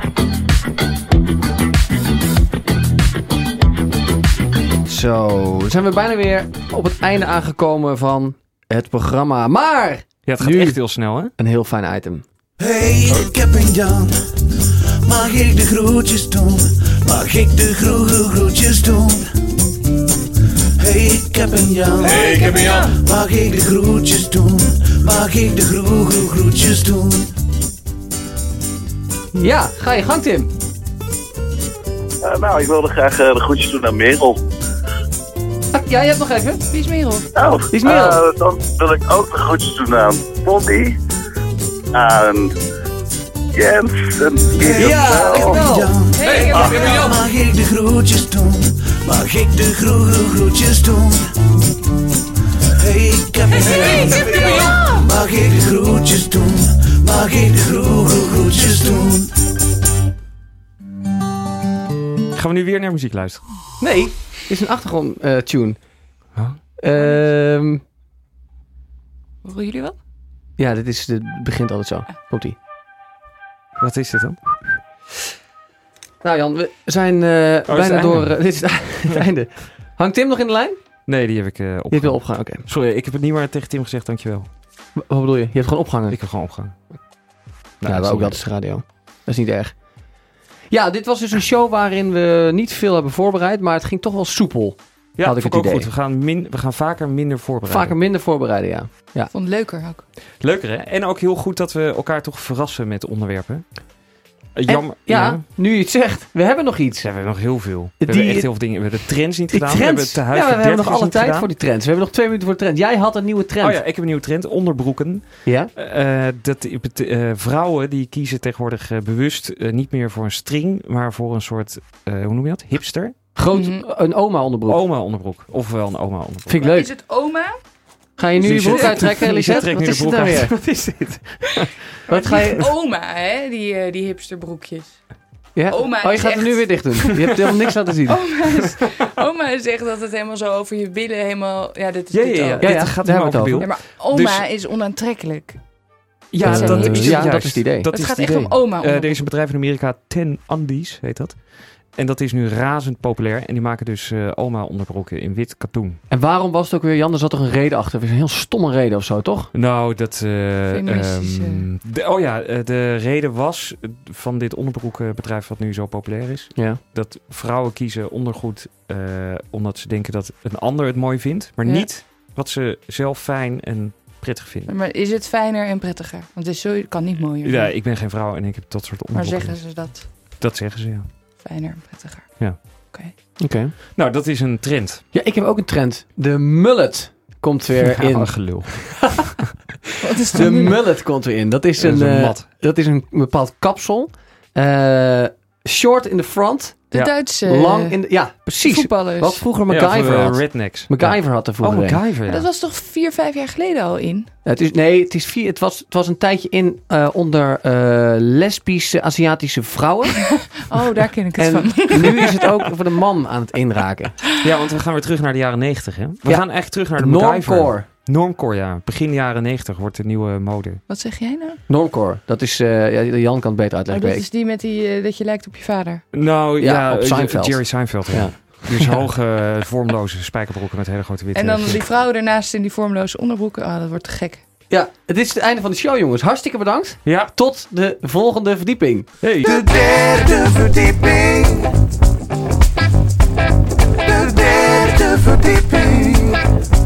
[SPEAKER 3] Zo, dan zijn we bijna weer op het einde aangekomen van het programma. Maar
[SPEAKER 1] Ja, het gaat
[SPEAKER 3] Nu.
[SPEAKER 1] echt heel snel, hè?
[SPEAKER 3] een heel fijn item.
[SPEAKER 2] Hey, ik heb een Jan. Mag ik de groetjes doen? Mag ik de gro gro- groetjes doen? Hey, ik heb een Jan. Hey, ik heb een Jan. Mag ik de groetjes doen? Mag ik de gro gro- groetjes doen?
[SPEAKER 3] Ja, ga je gang Tim.
[SPEAKER 9] eh, nou, ik wilde graag eh, de groetjes doen aan Merel.
[SPEAKER 4] <laughs>
[SPEAKER 3] Ah, Ja, je hebt nog even.
[SPEAKER 4] Wie is Merel?
[SPEAKER 9] Nou,
[SPEAKER 3] is Merel?
[SPEAKER 9] eh, dan wil ik ook de groetjes doen aan Bonnie, aan Jens en
[SPEAKER 2] Ja, ik heb een Jan.
[SPEAKER 4] Hey, ik heb Merel.
[SPEAKER 2] Mag ik de groetjes doen? Mag ik de gro gro- groetjes doen? Hey, ik heb een jan. Mag ik de groetjes doen? Mag ik de groe- groe- groetjes doen?
[SPEAKER 1] Gaan we nu weer naar muziek luisteren?
[SPEAKER 3] Nee, dit is een achtergrondtune.
[SPEAKER 1] Huh?
[SPEAKER 3] Ehm,
[SPEAKER 4] Horen jullie wat?
[SPEAKER 3] ja, dit is, dit begint altijd zo. Komt-ie.
[SPEAKER 1] Wat is dit dan?
[SPEAKER 3] Nou Jan, we zijn eh,
[SPEAKER 1] Oh, het
[SPEAKER 3] bijna
[SPEAKER 1] einde.
[SPEAKER 3] door... eh, <laughs> dit is
[SPEAKER 1] <laughs>
[SPEAKER 3] het einde. Hangt Tim nog in de lijn?
[SPEAKER 1] Nee, die heb ik eh
[SPEAKER 3] Je hebt wel
[SPEAKER 1] opgehangen.
[SPEAKER 3] opgehangen, oké.
[SPEAKER 1] Sorry, ik heb het niet meer tegen Tim gezegd, dankjewel.
[SPEAKER 3] Wa- Wat bedoel je? Je hebt gewoon opgehangen?
[SPEAKER 1] Ik heb gewoon opgehangen.
[SPEAKER 3] Nou,
[SPEAKER 1] is
[SPEAKER 3] ja, ook
[SPEAKER 1] niet
[SPEAKER 3] dat is de radio. Dat is niet erg. Ja, dit was dus een show waarin we niet veel hebben voorbereid, maar het ging toch wel soepel.
[SPEAKER 1] Ja,
[SPEAKER 3] Had ik
[SPEAKER 1] vond
[SPEAKER 3] het
[SPEAKER 1] ook
[SPEAKER 3] idee.
[SPEAKER 1] goed. We gaan, min, we gaan vaker minder voorbereiden.
[SPEAKER 3] Vaker minder voorbereiden, ja.
[SPEAKER 4] Ik vond het leuker ook.
[SPEAKER 1] Leuker, hè? En ook heel goed dat we elkaar toch verrassen met onderwerpen. Eh, Jammer.
[SPEAKER 3] Ja, nu je het zegt, we hebben nog iets.
[SPEAKER 1] Ze hebben nog heel veel. We
[SPEAKER 3] Die-
[SPEAKER 1] hebben echt heel veel dingen. We hebben de trends niet
[SPEAKER 3] Die
[SPEAKER 1] gedaan. We hebben
[SPEAKER 3] trends.
[SPEAKER 1] het te huis
[SPEAKER 3] ja, we
[SPEAKER 1] voor
[SPEAKER 3] hebben nog
[SPEAKER 1] 30
[SPEAKER 3] alle
[SPEAKER 1] niet
[SPEAKER 3] tijd
[SPEAKER 1] gedaan.
[SPEAKER 3] voor die trends. We hebben nog twee minuten voor de trend. Jij had een nieuwe trend.
[SPEAKER 1] Oh ja, ik heb een nieuwe trend. Onderbroeken.
[SPEAKER 3] Ja?
[SPEAKER 1] Eh, dat, eh, vrouwen die kiezen tegenwoordig eh, bewust eh, niet meer voor een string, maar voor een soort, eh, hoe noem je dat? Hipster?
[SPEAKER 3] Groot,
[SPEAKER 4] Mhm.
[SPEAKER 3] een oma onderbroek.
[SPEAKER 1] Oma onderbroek. Ofwel een oma onderbroek.
[SPEAKER 3] Vind ik
[SPEAKER 4] Maar
[SPEAKER 3] leuk.
[SPEAKER 4] Is het oma?
[SPEAKER 3] Ga je nu je broek
[SPEAKER 1] Lisette
[SPEAKER 3] uittrekken, Lisette?
[SPEAKER 1] trekt
[SPEAKER 3] Wat
[SPEAKER 1] nu
[SPEAKER 3] is
[SPEAKER 1] de
[SPEAKER 3] het
[SPEAKER 1] broek
[SPEAKER 3] nou
[SPEAKER 1] uit.
[SPEAKER 3] weer?
[SPEAKER 1] Wat
[SPEAKER 4] <laughs>
[SPEAKER 1] is dit?
[SPEAKER 3] Wat ga je...
[SPEAKER 4] Oma, hè? Die, eh, die hipsterbroekjes.
[SPEAKER 3] Ja?
[SPEAKER 4] Oma
[SPEAKER 3] oh, je
[SPEAKER 4] is
[SPEAKER 3] gaat hem nu
[SPEAKER 4] echt- Oh,
[SPEAKER 3] weer dicht doen. Je hebt helemaal niks laten zien.
[SPEAKER 4] Oma, is, oma zegt dat het helemaal zo over je billen helemaal... Ja, dit is
[SPEAKER 1] Ja,
[SPEAKER 4] dit
[SPEAKER 1] ja, ja.
[SPEAKER 4] al.
[SPEAKER 1] Dit
[SPEAKER 3] ja, Dus-
[SPEAKER 1] gaat
[SPEAKER 3] daar
[SPEAKER 1] helemaal
[SPEAKER 3] hebben we
[SPEAKER 1] over
[SPEAKER 3] het
[SPEAKER 1] beeld.
[SPEAKER 4] Ja, maar oma is onaantrekkelijk.
[SPEAKER 1] Ja,
[SPEAKER 4] Eh,
[SPEAKER 1] dat is
[SPEAKER 4] ja,
[SPEAKER 1] juist.
[SPEAKER 3] dat is het idee.
[SPEAKER 1] Dat
[SPEAKER 4] het
[SPEAKER 1] is
[SPEAKER 4] gaat
[SPEAKER 1] het
[SPEAKER 4] echt
[SPEAKER 1] idee.
[SPEAKER 4] om oma.
[SPEAKER 1] Eh, er is een bedrijf in Amerika, Ten Andes heet dat. En dat is nu razend populair. En die maken dus eh, oma onderbroeken in wit katoen.
[SPEAKER 3] En waarom was het ook weer, Jan? Er zat toch een reden achter? Een heel stomme reden of zo, toch?
[SPEAKER 1] Nou, dat... eh,
[SPEAKER 4] Feministische.
[SPEAKER 1] ehm, de- oh ja, eh, de reden was eh, van dit onderbroekenbedrijf wat nu zo populair is.
[SPEAKER 3] Ja.
[SPEAKER 1] Dat vrouwen kiezen ondergoed eh, omdat ze denken dat een ander het mooi vindt. Maar
[SPEAKER 4] Ja.
[SPEAKER 1] niet wat ze zelf fijn en prettig vinden.
[SPEAKER 4] Maar is het fijner en prettiger? Want het is zo, het kan niet mooier.
[SPEAKER 1] Ja, ik ben geen vrouw en ik heb dat soort
[SPEAKER 4] maar
[SPEAKER 1] onderbroeken.
[SPEAKER 4] zeggen ze dat
[SPEAKER 1] Dat zeggen ze, ja.
[SPEAKER 4] fijner en prettiger?
[SPEAKER 3] Oké.
[SPEAKER 1] Nou, dat is een trend.
[SPEAKER 3] Ja, ik heb ook een trend. De mullet komt weer
[SPEAKER 1] <laughs> Ja,
[SPEAKER 3] in.
[SPEAKER 1] gelul.
[SPEAKER 4] Wat is
[SPEAKER 3] De mullet komt weer in. Dat is
[SPEAKER 1] Dat
[SPEAKER 3] een,
[SPEAKER 1] is een
[SPEAKER 3] eh,
[SPEAKER 1] mat.
[SPEAKER 3] dat is een bepaald kapsel. Eh, short in the front,
[SPEAKER 4] De
[SPEAKER 1] Ja.
[SPEAKER 4] Duitse dus-
[SPEAKER 3] lang in de... Ja, precies.
[SPEAKER 4] voetballers.
[SPEAKER 3] Wat vroeger
[SPEAKER 1] Ja,
[SPEAKER 3] MacGyver
[SPEAKER 1] voor, eh,
[SPEAKER 3] had.
[SPEAKER 1] rednecks. Ja.
[SPEAKER 3] MacGyver had er
[SPEAKER 1] Oh,
[SPEAKER 3] vroeger een.
[SPEAKER 1] MacGyver, ja.
[SPEAKER 4] Dat was toch vier, vijf jaar geleden al in?
[SPEAKER 3] Het is, nee, het, is vier, het, was, het was een tijdje in eh, onder eh, lesbische Aziatische
[SPEAKER 4] <laughs>
[SPEAKER 3] vrouwen.
[SPEAKER 4] Oh, daar ken ik het
[SPEAKER 3] en
[SPEAKER 4] van.
[SPEAKER 3] <laughs> nu is het ook voor de man aan het inraken.
[SPEAKER 1] Ja, want we gaan weer terug naar de jaren 90, hè? We
[SPEAKER 3] Ja.
[SPEAKER 1] gaan echt terug naar de MacGyver.
[SPEAKER 3] Normcore.
[SPEAKER 1] Normcore, ja. Begin jaren 90 wordt de nieuwe mode.
[SPEAKER 4] Wat zeg jij nou?
[SPEAKER 3] Normcore. Dat is... eh, ja, Jan kan het beter
[SPEAKER 4] Oh, dat
[SPEAKER 3] uitleggen. weet ik.
[SPEAKER 4] is die met die, eh, dat je lijkt op je vader.
[SPEAKER 1] Nou,
[SPEAKER 3] Ja,
[SPEAKER 1] ja,
[SPEAKER 3] op
[SPEAKER 1] eh,
[SPEAKER 3] Seinfeld.
[SPEAKER 1] Jerry Seinfeld, ja.
[SPEAKER 3] Ja. <laughs>
[SPEAKER 1] Dus hoge, eh, vormloze spijkerbroeken met hele grote witte...
[SPEAKER 4] En dan die vrouw ernaast in die vormloze onderbroeken. Ah, dat wordt te gek.
[SPEAKER 3] Ja, het is het einde van de show, jongens. Hartstikke bedankt.
[SPEAKER 1] Ja,
[SPEAKER 3] Tot de volgende verdieping.
[SPEAKER 1] hey.
[SPEAKER 2] De derde verdieping. De derde verdieping.